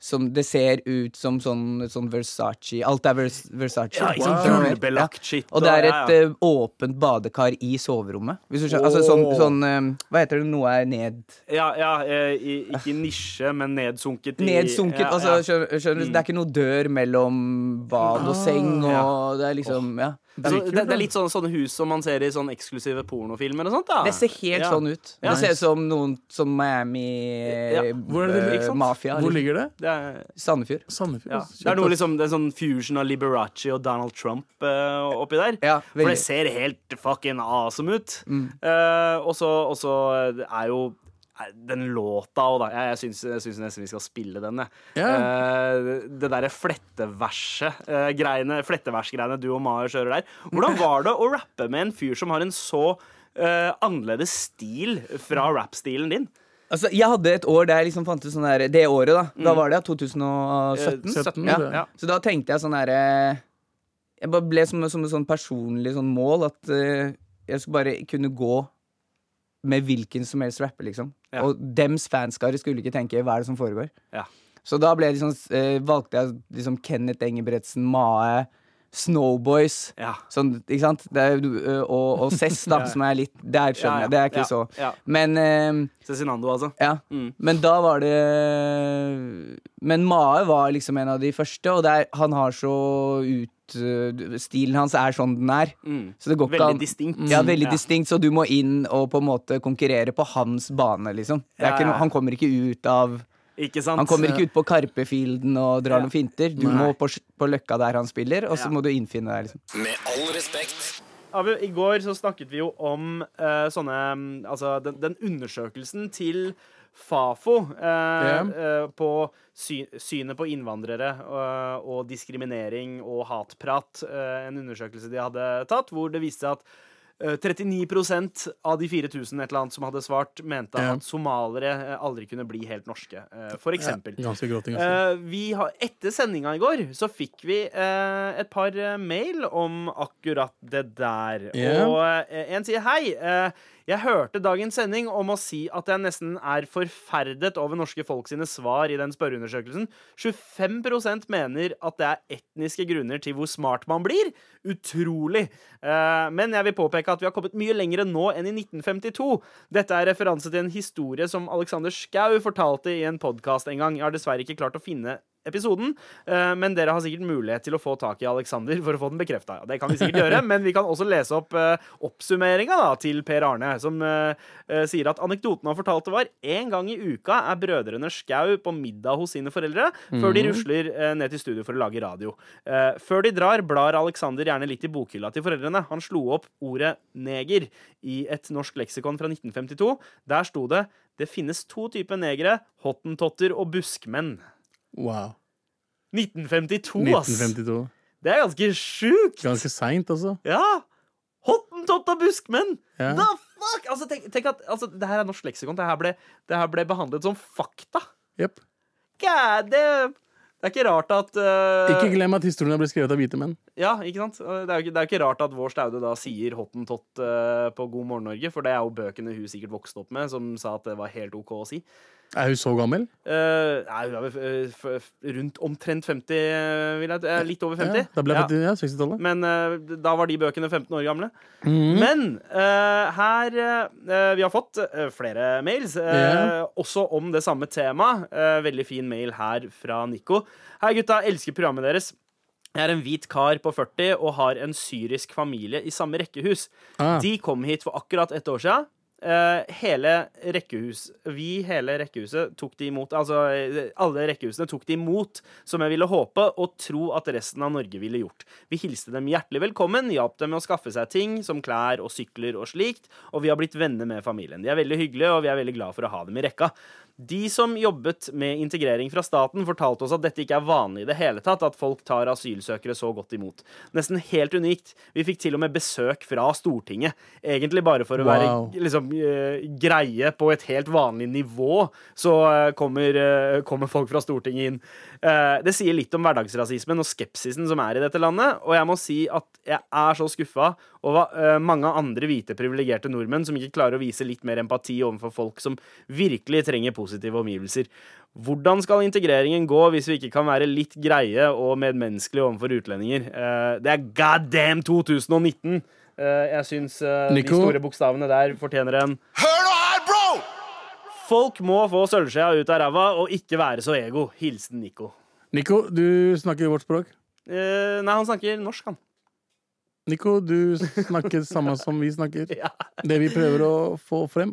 som det ser ut som sånn, sånn Versace. Alt er Vers, Versace. Ja, ikke sånn Wow. gullbelagt shit, Og det er og- et ja, ja. eh, åpent badekar i soverommet. Hvis du skjønner, altså sånn, Åh. sånn eh, Hva heter det? Noe er ned, Ja, ja eh, i, ikke nisje, men nedsunket i nedsunket. ja, altså, ja. Mm. skjønner, skjønner, du? Det er ikke noe dør mellom bad og seng, og det er liksom Ja. Så Ah, det, det er litt sånn, sånne hus som man ser i sånne eksklusive pornofilmer og sånt. da Det ser helt ja. sånn ut. Ja. Det ser ut som noen sånn Miami Ja. eh, Hvor, er det, det eh, ligger? Mafia. Hvor eller ligger det? Det er, Sandefjord. Sandefjord. ja. ass. det er noe Shit, ass. liksom, det er sånn fusion av Liberace og Donald Trump eh, oppi der. Ja, For det veldig. Mm. ser helt fucking awesome ut. Eh, og så og så er jo er den låta òg, da. Jeg, jeg, syns, jeg syns nesten vi skal spille den, jeg. Ja. Eh, det derre fletteverset-greiene fletteversgreiene du og Maher kjører der. Hvordan var det å rappe med en fyr som har en så eh, annerledes stil fra rappstilen din? Altså, jeg hadde et år der jeg liksom fant ut sånn der Det året, da. Da var det 2017. Eh, 17, ja. tror jeg. Ja. Så da tenkte jeg sånn derre Jeg bare ble som, som et sånn personlig sånn mål at eh, jeg skulle bare kunne gå med hvilken som helst rapper, liksom. Ja. Og dems fanskare skulle ikke tenke 'hva er det som foregår'? Ja. Så da ble jeg liksom, eh, valgte jeg liksom Kenneth Engebretsen, Mae, Snowboys. Ja. Sånn, ikke sant? Det er, du- ø, og, og Cess, da, som er litt Der Ja, ja, skjønner jeg. Det er ikke ja, så ja. Men eh, Cezinando, altså. ja. Men da var det Men Mae var liksom en av de første, og det er, han har så ut ø, Stilen hans er sånn den er. Så det går ikke Mm. Veldig an- distinkt. Ja, veldig Ja. distinkt, så du må inn og på en måte konkurrere på hans bane, liksom. Det er Ja, ikke, ja, no- ja. han kommer ikke ut av Ikke sant? Han kommer ikke ut på Karpefielden og drar noen finter. Du må på, på Løkka der han spiller, og så Ja. må du innfinne deg. liksom Med all respekt. Abu, I går så snakket vi jo om eh, sånne mm, Altså den, den undersøkelsen til Fafo eh, eh, på sy synet på innvandrere eh, og diskriminering og hatprat. eh, en undersøkelse de hadde tatt, hvor det viste seg at eh, 39 av de 4000 et eller annet som hadde svart, mente Ja. at somalere eh, aldri kunne bli helt norske, eh, for eksempel. Ganske gråting. Eh, Altså. vi har, etter sendinga i går så fikk vi eh, et par eh, mail om akkurat det der. Ja. Og eh, en sier hei. eh, jeg hørte dagens sending om å si at jeg nesten er forferdet over norske folk sine svar i den spørreundersøkelsen. 25 mener at det er etniske grunner til hvor smart man blir. Utrolig. Eh, men jeg vil påpeke at vi har kommet mye lenger nå enn i 1952. Dette er referanse til en historie som Alexander Schou fortalte i en podkast en gang. Jeg har dessverre ikke klart å finne episoden, eh, men dere har sikkert mulighet til å få tak i Alexander for å få den bekrefta. Det kan vi sikkert gjøre, men vi kan også lese opp eh, oppsummeringa da, til Per Arne, som eh, eh, sier at anekdoten han fortalte var en gang i uka er brødrene Skau på middag hos sine foreldre før de rusler eh, ned til studio for å lage radio. Eh, før de drar, blar Alexander gjerne litt i bokhylla til foreldrene. Han slo opp ordet neger i et norsk leksikon fra 1952. Der sto det det finnes to typer negere, hottentotter og buskmenn. Wow. 1952, ass! 1952. Det er ganske sjukt! Ganske seint, altså. Ja! Hottentott og buskmenn! Ja. The fuck? Altså, tenk, tenk at altså, Det her er norsk leksikon. Det her ble, det her ble behandlet som fakta. Jep. God damn! Det er ikke rart at eh, Ikke glem at historien ble skrevet av hvite menn. Ja, ikke sant? Eh, Det er jo ikke, det er jo ikke rart at vår staude da sier hottentott eh, på God morgen Norge, for det er jo bøkene hun sikkert vokste opp med, som sa at det var helt OK å si. Er hun så gammel? Eh, nei, hun er vel eh, f- f- rundt omtrent 50, eh, vil jeg t- eh, Litt over 50. Ja, da ble Ja. jeg født i ja, 60-tallet. Men eh, da var de bøkene 15 år gamle. Mhm. Men eh, her eh, Vi har fått eh, flere mails, eh, Ja. også om det samme temaet. Eh, veldig fin mail her fra Nico. Hei, gutta. Elsker programmet deres. Jeg er en hvit kar på 40 og har en syrisk familie i samme rekkehus. Ah. De kom hit for akkurat ett år siden. Eh, hele rekkehus Vi, hele rekkehuset, tok de imot Altså, eh, alle rekkehusene tok de imot som jeg ville håpe og tro at resten av Norge ville gjort. Vi hilste dem hjertelig velkommen, hjalp dem med å skaffe seg ting som klær og sykler og slikt, og vi har blitt venner med familien. De er veldig hyggelige, og vi er veldig glad for å ha dem i rekka. De som jobbet med integrering fra staten, fortalte oss at dette ikke er vanlig i det hele tatt, at folk tar asylsøkere så godt imot. Nesten helt unikt. Vi fikk til og med besøk fra Stortinget. Egentlig bare for å Wow. være liksom, eh, greie på et helt vanlig nivå, så eh, kommer, eh, kommer folk fra Stortinget inn. Eh, det sier litt om hverdagsrasismen og skepsisen som er i dette landet, og jeg må si at jeg er så skuffa over eh, mange andre hvite, privilegerte nordmenn som ikke klarer å vise litt mer empati overfor folk som virkelig trenger positive omgivelser. Hvordan skal integreringen gå hvis vi ikke kan være litt greie og medmenneskelige overfor utlendinger? Eh, det er god damn 2019! Eh, jeg syns eh, de Nico? store bokstavene der fortjener en Hør nå her, bro! Folk må få sølvskjea ut av ræva og ikke være så ego. Hilsen Nico. Nico, du snakker vårt språk. Eh, nei, han snakker norsk, han. Nico, du snakker samme som vi snakker. Ja. Det vi prøver å få frem.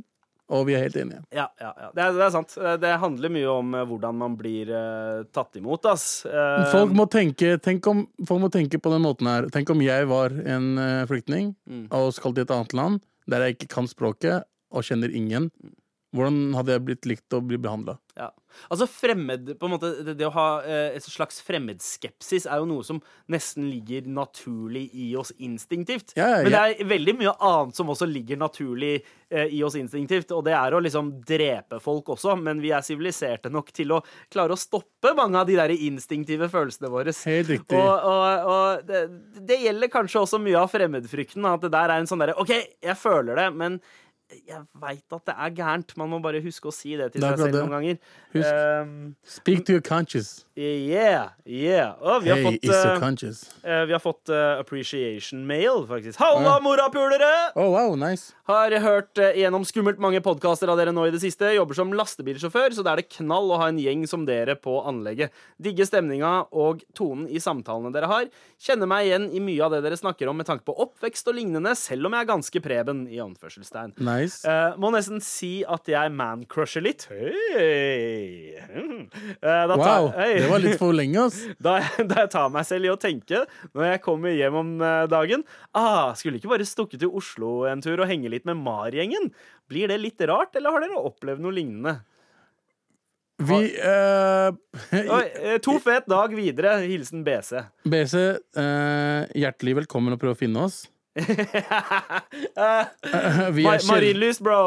Og vi er helt enige. Ja, ja, ja. Det, er, det er sant. Eh, Det handler mye om eh, hvordan man blir eh, tatt imot, ass. Eh, Folk må, tenke, tenk om, folk må tenke på den måten her. Tenk om jeg var en eh, flyktning Mm. og skal til et annet land der jeg ikke kan språket og kjenner ingen. Mm. Hvordan hadde jeg blitt likt å bli behandla? ja. Altså fremmed på en måte, det, det å ha eh, et slags fremmedskepsis er jo noe som nesten ligger naturlig i oss instinktivt. Ja, ja, Men det er veldig mye annet som også ligger naturlig eh, i oss instinktivt, og det er å liksom drepe folk også, men vi er siviliserte nok til å klare å stoppe mange av de der instinktive følelsene våre. Helt riktig. Og, og, og det, det gjelder kanskje også mye av fremmedfrykten. At det der er en sånn derre OK, jeg føler det, men jeg veit at det er gærent. Man må bare huske å si det til Det er seg akkurat selv noen ganger. Husk. Ehm, Speak to your conscience. Yeah, yeah. Å, vi har Hey, fått, is so eh, conscious. eh, vi har fått eh, appreciation mail, faktisk. Halla, morapulere! Oh, wow, nice. Har hørt eh, gjennom skummelt mange podkaster av dere nå i det siste. Jobber som lastebilsjåfør, så det er det knall å ha en gjeng som dere på anlegget. Digger stemninga og tonen i samtalene dere har. Kjenner meg igjen i mye av det dere snakker om med tanke på oppvekst og lignende, selv om jeg er ganske Preben, i anførselstegn. Nice. Eh, må nesten si at jeg mancrusher litt. Hei! Eh, da tar- Wow, Hei. det var litt for lenge, ass. Da jeg, da jeg tar meg selv i å tenke når jeg kommer hjem om eh, dagen ah, Skulle ikke bare stukket til Oslo en tur og henge litt med Mar-gjengen? Blir det litt rart, eller har dere opplevd noe lignende? Vi eh, Oi, eh, to fet dag videre. Hilsen BC. BC, eh, hjertelig velkommen og prøv å finne oss. Eh, Vi Ma er sjel- Marienlyst, bro!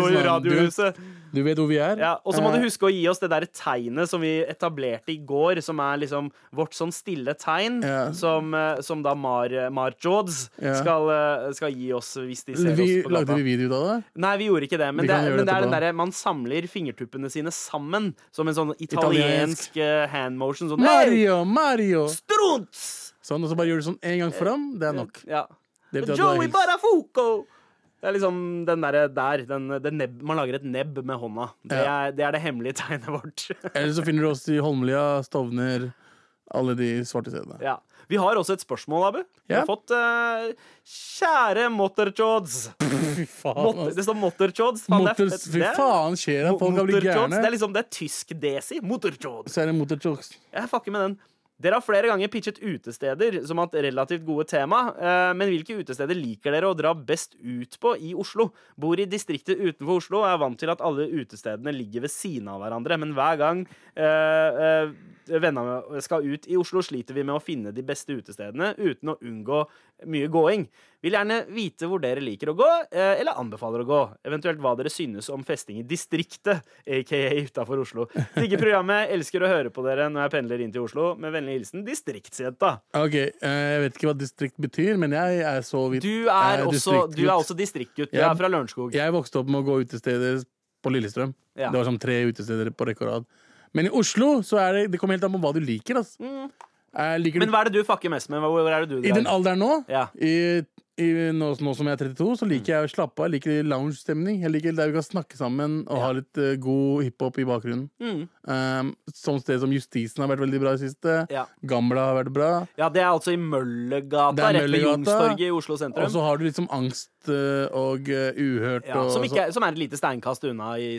Radio, mann. radiohuset. Du vet hvor vi er? Ja, og så må Eh, du huske å gi oss det der tegnet som vi etablerte i går, som er liksom vårt sånn stille tegn, Ja. som, eh, som da Mar, Mar Jods Ja. skal, skal, gi oss hvis de ser vi, oss på Lagde gata. vi video ut av det? Nei, vi gjorde ikke det, men, Vi det, kan gjøre men det det er den etterpå. derre man samler fingertuppene sine sammen, som en sånn italiensk, Italiensk. eh, hand motion. Sånn «Hey, Mario, Mario! Strunt! Sånn, og så bare gjør du sånn en gang fram. Det er nok. Ja. Det betyr at du har Joey hilst. Barafuco! Det er liksom den derre der. Den, det nebb, man lager et nebb med hånda. Det er, Ja. det, er det hemmelige tegnet vårt. Eller så finner du oss i Holmlia, Stovner, alle de svarte stedene. Ja. Vi har også et spørsmål, Abu. Vi Ja. har fått eh, Kjære Motterchods. Fy faen, Mot- ass. det står Motterchods. Faen, det er Motors, fett. fy Det er- faen, skjer det? Folk kan bli Motterchods. gærne. Det er liksom det er tysk desi. Motterchods. Så er det motorchokes. Jeg fucker med den. Dere har flere ganger pitchet utesteder som hatt relativt gode tema, eh, men hvilke utesteder liker dere å dra best ut på i Oslo? Bor i distriktet utenfor Oslo og er vant til at alle utestedene ligger ved siden av hverandre, men hver gang eh, eh, vennene skal ut i Oslo, sliter vi med å finne de beste utestedene uten å unngå mye gåing. Vil gjerne vite hvor dere liker å gå, eh, eller anbefaler å gå. Eventuelt hva dere synes om festing i distriktet, aka utafor Oslo. Digger programmet, elsker å høre på dere når jeg pendler inn til Oslo. Med vennlig hilsen distriktsjenta. Ok, eh, jeg vet ikke hva distrikt betyr, men jeg er så vidt Du er, jeg også, du er distriktgutt. også distriktgutt. Du Ja. er fra Lørenskog. Jeg vokste opp med å gå utesteder på Lillestrøm. Ja. Det var sånn tre utesteder på rekke og rad. Men i Oslo så er det, det kommer helt an på hva du liker. ass. Eh, Mm. liker Men du, hva er det du fucker mest med? Hvor hvor er det du I den drar? alderen nå, Ja. i, i, nå, nå som jeg er 32, så liker jeg å slappe av. Jeg liker lounge-stemning. Jeg liker der vi kan snakke sammen og ha litt eh, god hiphop i bakgrunnen. Mm. Um, sånn sted som Justisen har vært veldig bra i det siste. Ja. Gamla har vært bra. Ja, det er altså i Det Møllergata, er rett ved Møllergata. Youngstorget i Oslo sentrum. Og så har du liksom angst eh, og eh, uhørt ja, som, og ikke, er- som er et lite steinkast unna i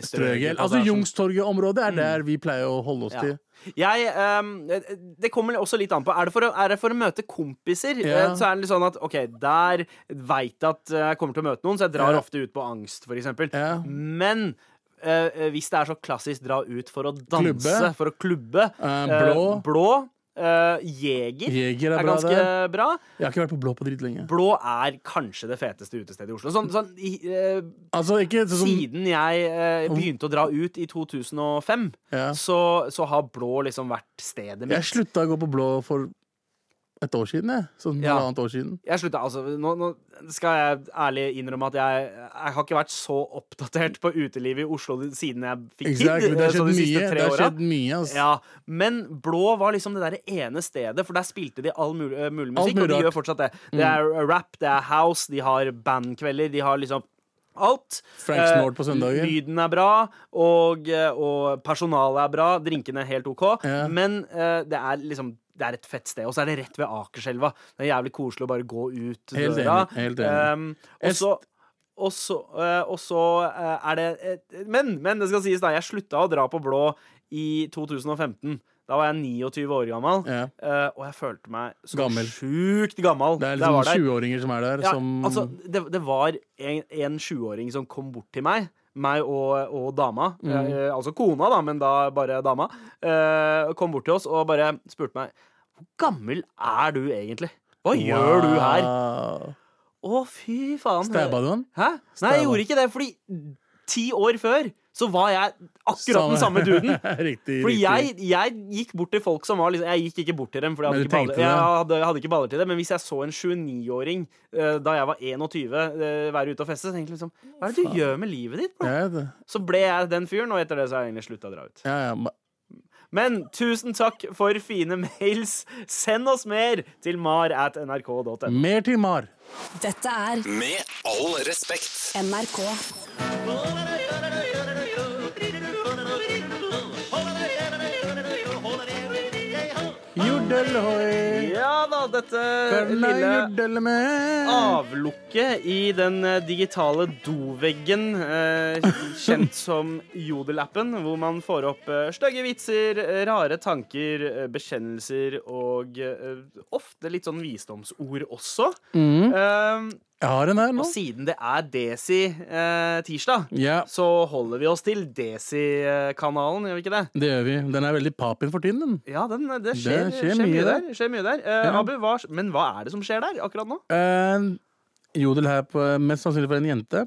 Strøgel. Strøgel. Altså som- Youngstorget-området er der vi pleier å holde oss sånn- Mm. Ja. til. Jeg, ehm, det kommer også litt an på. Er det for å, er det for å møte kompiser, Ja. eh, så er det litt sånn at OK, der veit jeg at jeg kommer til å møte noen, så jeg drar Ja. ofte ut på angst, for eksempel. Ja. Men eh, hvis det er så klassisk dra ut for å danse, Klubbe. for å klubbe Eh, eh, blå. blå eh, jeger, Jeger er er bra ganske der. bra. Jeg har ikke vært på Blå på dritlenge. Blå er kanskje det feteste utestedet i Oslo. Sånn, sånn i, eh, Altså, ikke sånn som siden jeg eh, begynte å dra ut i 2005, Ja. så, så har blå liksom vært stedet mitt. Jeg slutta å gå på Blå for et år siden, jeg. Sånn Ja. halvannet år siden. Jeg slutta, altså, nå, nå skal jeg ærlig innrømme at jeg, jeg har ikke vært så oppdatert på utelivet i Oslo siden jeg fikk Exakt, tid. Det har eh, så skjedd de mye. siste Det tre har åra. skjedd mye ass. Ja, men Blå var liksom det der ene stedet, for der spilte de all mulig, eh, mulig Alt musikk. mulig Og de rart. Mm. gjør fortsatt det. Det er rap, det er house, de har bandkvelder, de har liksom alt. Frank Eh, Snort på søndager. Lyden er bra, og, eh, og personalet er bra, drinkene er helt OK. Ja. Men eh, det er liksom det er et fett sted. Og så er det rett ved Akerselva. Det er jævlig koselig å bare gå ut Helt døra. enig, helt enig. Um, og så og så, eh, og så eh, er det et- men, men det skal sies, da. Jeg slutta å dra på blå i 2015. Da var jeg 29 år gammel, Ja. eh, og jeg følte meg så Gammel. sjukt gammel. Det er da jeg var liksom der. 20-åringer som er der, Ja, som altså, det, det var en, en 20-åring som kom bort til meg. Meg og, og dama, Mm. eh, altså kona, da, men da bare dama, eh, kom bort til oss og bare spurte meg Hvor gammel er du egentlig? Hva gjør du her? Wow. Å, fy faen. Stabba du han? Hæ? Nei, jeg Stabba. gjorde ikke det, fordi ti år før så var jeg akkurat den samme duden. riktig. Fordi riktig. jeg, jeg gikk bort til folk som var liksom Jeg gikk ikke bort til dem, for jeg Men hadde, du ikke baller, tenkte det? jeg hadde, jeg hadde ikke baller til det. Men hvis jeg så en 29-åring eh, da jeg var 21, eh, være ute og feste, så tenkte jeg liksom Hva er det du gjør med livet ditt? Bro? Jeg vet det. Så ble jeg den fyren, og etter det så har jeg egentlig slutta å dra ut. Ja, ja. men- Men tusen takk for fine mails. Send oss mer til mar at nrk.no. Mer til Mar. Dette er Med all respekt. NRK. Jodelhoi. Ja da, dette Verna lille Ah. jodelme. avlukket i den eh, digitale doveggen, eh, kjent som jodelappen, hvor man får opp eh, stygge vitser, eh, rare tanker, eh, bekjennelser og eh, ofte litt sånn visdomsord også. Eh, Jeg har en her og nå. siden det er Desi-tirsdag, Ja, så holder vi oss til Desi-kanalen, gjør vi ikke det? det gjør vi. Den er veldig papin for tiden, den. Ja, den, eh, det skjer, skjer, mye der. Skjer mye der. Eh, Ja. Abu, hva, men hva er det som skjer der akkurat nå? Eh, jodel her, på, mest sannsynlig for en jente.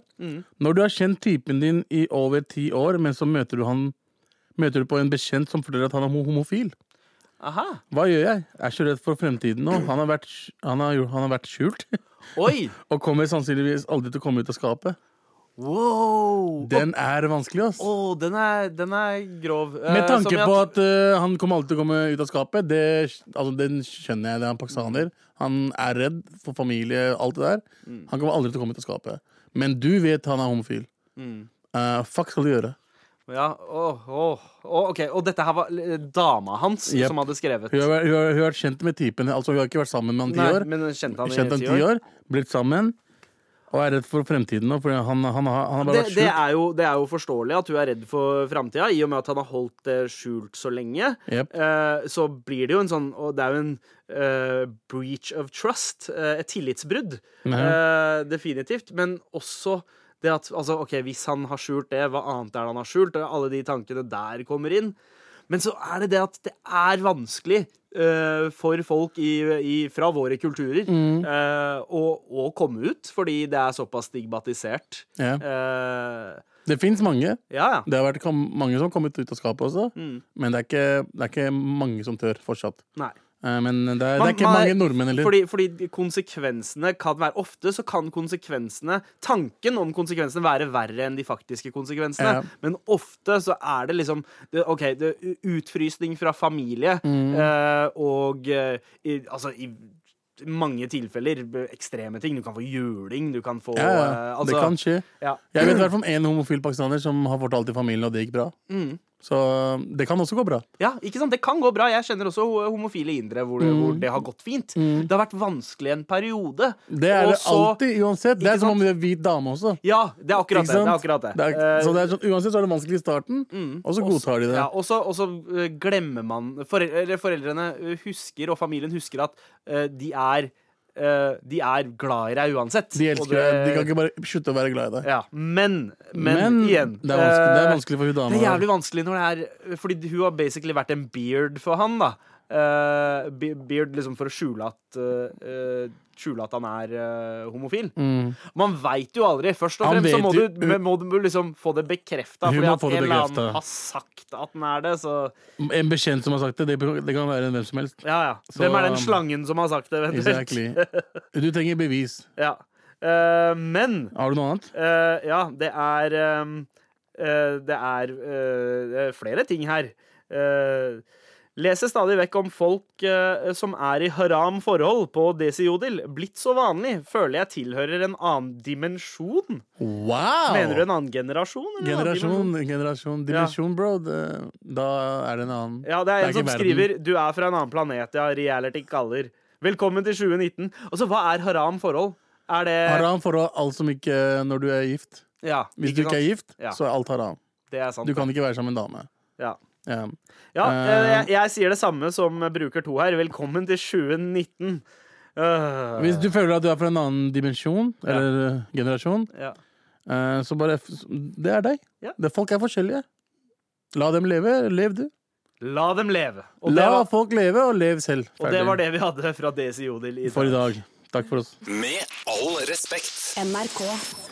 Når du har kjent typen din i over ti år, men så møter du han Møter du på en bekjent som forteller at han er ho- homofil. Aha. Hva gjør jeg? Jeg er så redd for fremtiden nå. Han har vært, sk- han har, jo- han har vært skjult. Oi! Og kommer sannsynligvis aldri til å komme ut av skapet. Wow! Den er vanskelig, ass. Å, den, er, den er grov. Eh, Med som tanke jeg- på at eh, han kommer alltid til å komme ut av skapet, det, altså, den skjønner jeg. Det er en pakistaner. Han er redd for familie, alt det der. Mm. Han kommer aldri til å komme ut av skapet. Men du vet han er homofil. Mm. Eh, fuck skal du gjøre? Ja, åh, åh, åh, ok. Og dette her var eh, dama hans Yep. som hadde skrevet. Hun har, vært- hun, har, hun har vært kjent med typen. Altså Hun har ikke vært sammen med han Nei, ti år. men kjente han i Kjent han ti år, blitt sammen. Og er redd for fremtiden nå, for han, han, har- han har bare Det, vært det, skjult. er jo, det er jo forståelig at hun er redd for framtida, i og med at han har holdt det skjult så lenge. Jep. Eh, så blir det jo en sånn Og det er jo en eh, breach of trust. eh, et tillitsbrudd. Eh, definitivt. Men også det at altså, OK, hvis han har skjult det, hva annet er det han har skjult? Og alle de tankene der kommer inn. Men så er det det at det er vanskelig eh, for folk i, i, fra våre kulturer eh, å, å komme ut, fordi det er såpass stigmatisert. Ja. Eh, Det fins mange. ja, ja. Det har vært kom, mange som har kommet ut av skapet også. Mm. Men det er, ikke, det er ikke mange som tør fortsatt. Nei. Eh, Men det er, det Man- er ikke man er- mange nordmenn heller. Fordi, fordi konsekvensene kan være Ofte så kan konsekvensene Tanken om konsekvensene være verre enn de faktiske konsekvensene. Ja. Men ofte så er det liksom det, OK, det, er utfrysning fra familie Mm. eh, og eh, i, Altså i mange tilfeller b- ekstreme ting. Du kan få juling, du kan få Ja, ja. eh, altså, det kan skje. ja. Jeg vet i hvert fall om én homofil pakistaner som har fortalt til familien, og det gikk bra. Mm. Så eh, det kan også gå bra. Ja, ikke sant? Det kan gå bra. Jeg kjenner også ho- homofile indere hvor, det- Mm. hvor det har gått fint. Det har vært vanskelig en periode. Det er og det så- alltid, uansett. Det Ikke er som sant? om det er hvit dame også. Ja, det er akkurat det. Ikke det, er sant? akkurat det. Det er, så Eh, mm. det er sånn, uansett så er det vanskelig i starten, og så godtar de det. Ja, og så- og så eh, glemmer man forel- eller Foreldrene eh, husker, og familien husker, at eh, de er eh, De er glad i deg uansett. De Og elsker det- deg. De kan ikke bare slutte å være glad i deg. ja, men, men, Men, igjen det, er vanskelig, det er eh, vanskelig for hun det dama. er jævlig vanskelig når det er Fordi hun har basically vært en beard for han, da. Eh, be- beard liksom for å skjule at eh, eh, Skjule at han er eh, homofil. Man veit jo aldri. Først og Mm. Han fremst så vet må jo- du, men må du liksom få det bekrefta. Hun Fordi må at få det en eller annen bekreftet. har sagt at den er det, så En bekjent som har sagt det, det, det kan være hvem som helst. Ja, ja. Så, Hvem er den um, slangen som har sagt det? eventuelt? Exactly. Du trenger bevis. Ja. Eh, men Har du noe annet? Eh, ja, det er ehm, eh, Det er eh, det er flere ting her. Eh, leser stadig vekk om folk eh, som er i haram forhold på desiodel. Blitt så vanlig. Føler jeg tilhører en annen dimensjon. Wow! Mener du en annen generasjon? eller en annen dimensjon? Generasjon, generasjon, dimensjon, bro. Det, da er det en annen Ja, det er en Det er som ikke skriver 'Du er fra en annen planet', ja. Reality kaller. Velkommen til 2019. Altså, hva er haram forhold? Er det Haram for alt som ikke Når du er gift. Ja, Hvis du ikke er sant? gift, Ja. så er alt haram. Det er sant. Du kan ikke være sammen med en dame. Ja. Ja. Ja, Eh, jeg, jeg sier det samme som bruker to her. Velkommen til 2019. Øh, Hvis du føler at du er fra en annen dimensjon eller eh, generasjon, ja. eh, så bare f- Det er deg. Ja. Det, folk er forskjellige. La dem leve. Lev, du. La dem leve. Og, det, La var, folk leve, og lev selv. og det var det vi hadde fra Desi Jodel i for i dag. Takk for oss. Med all respekt. NRK.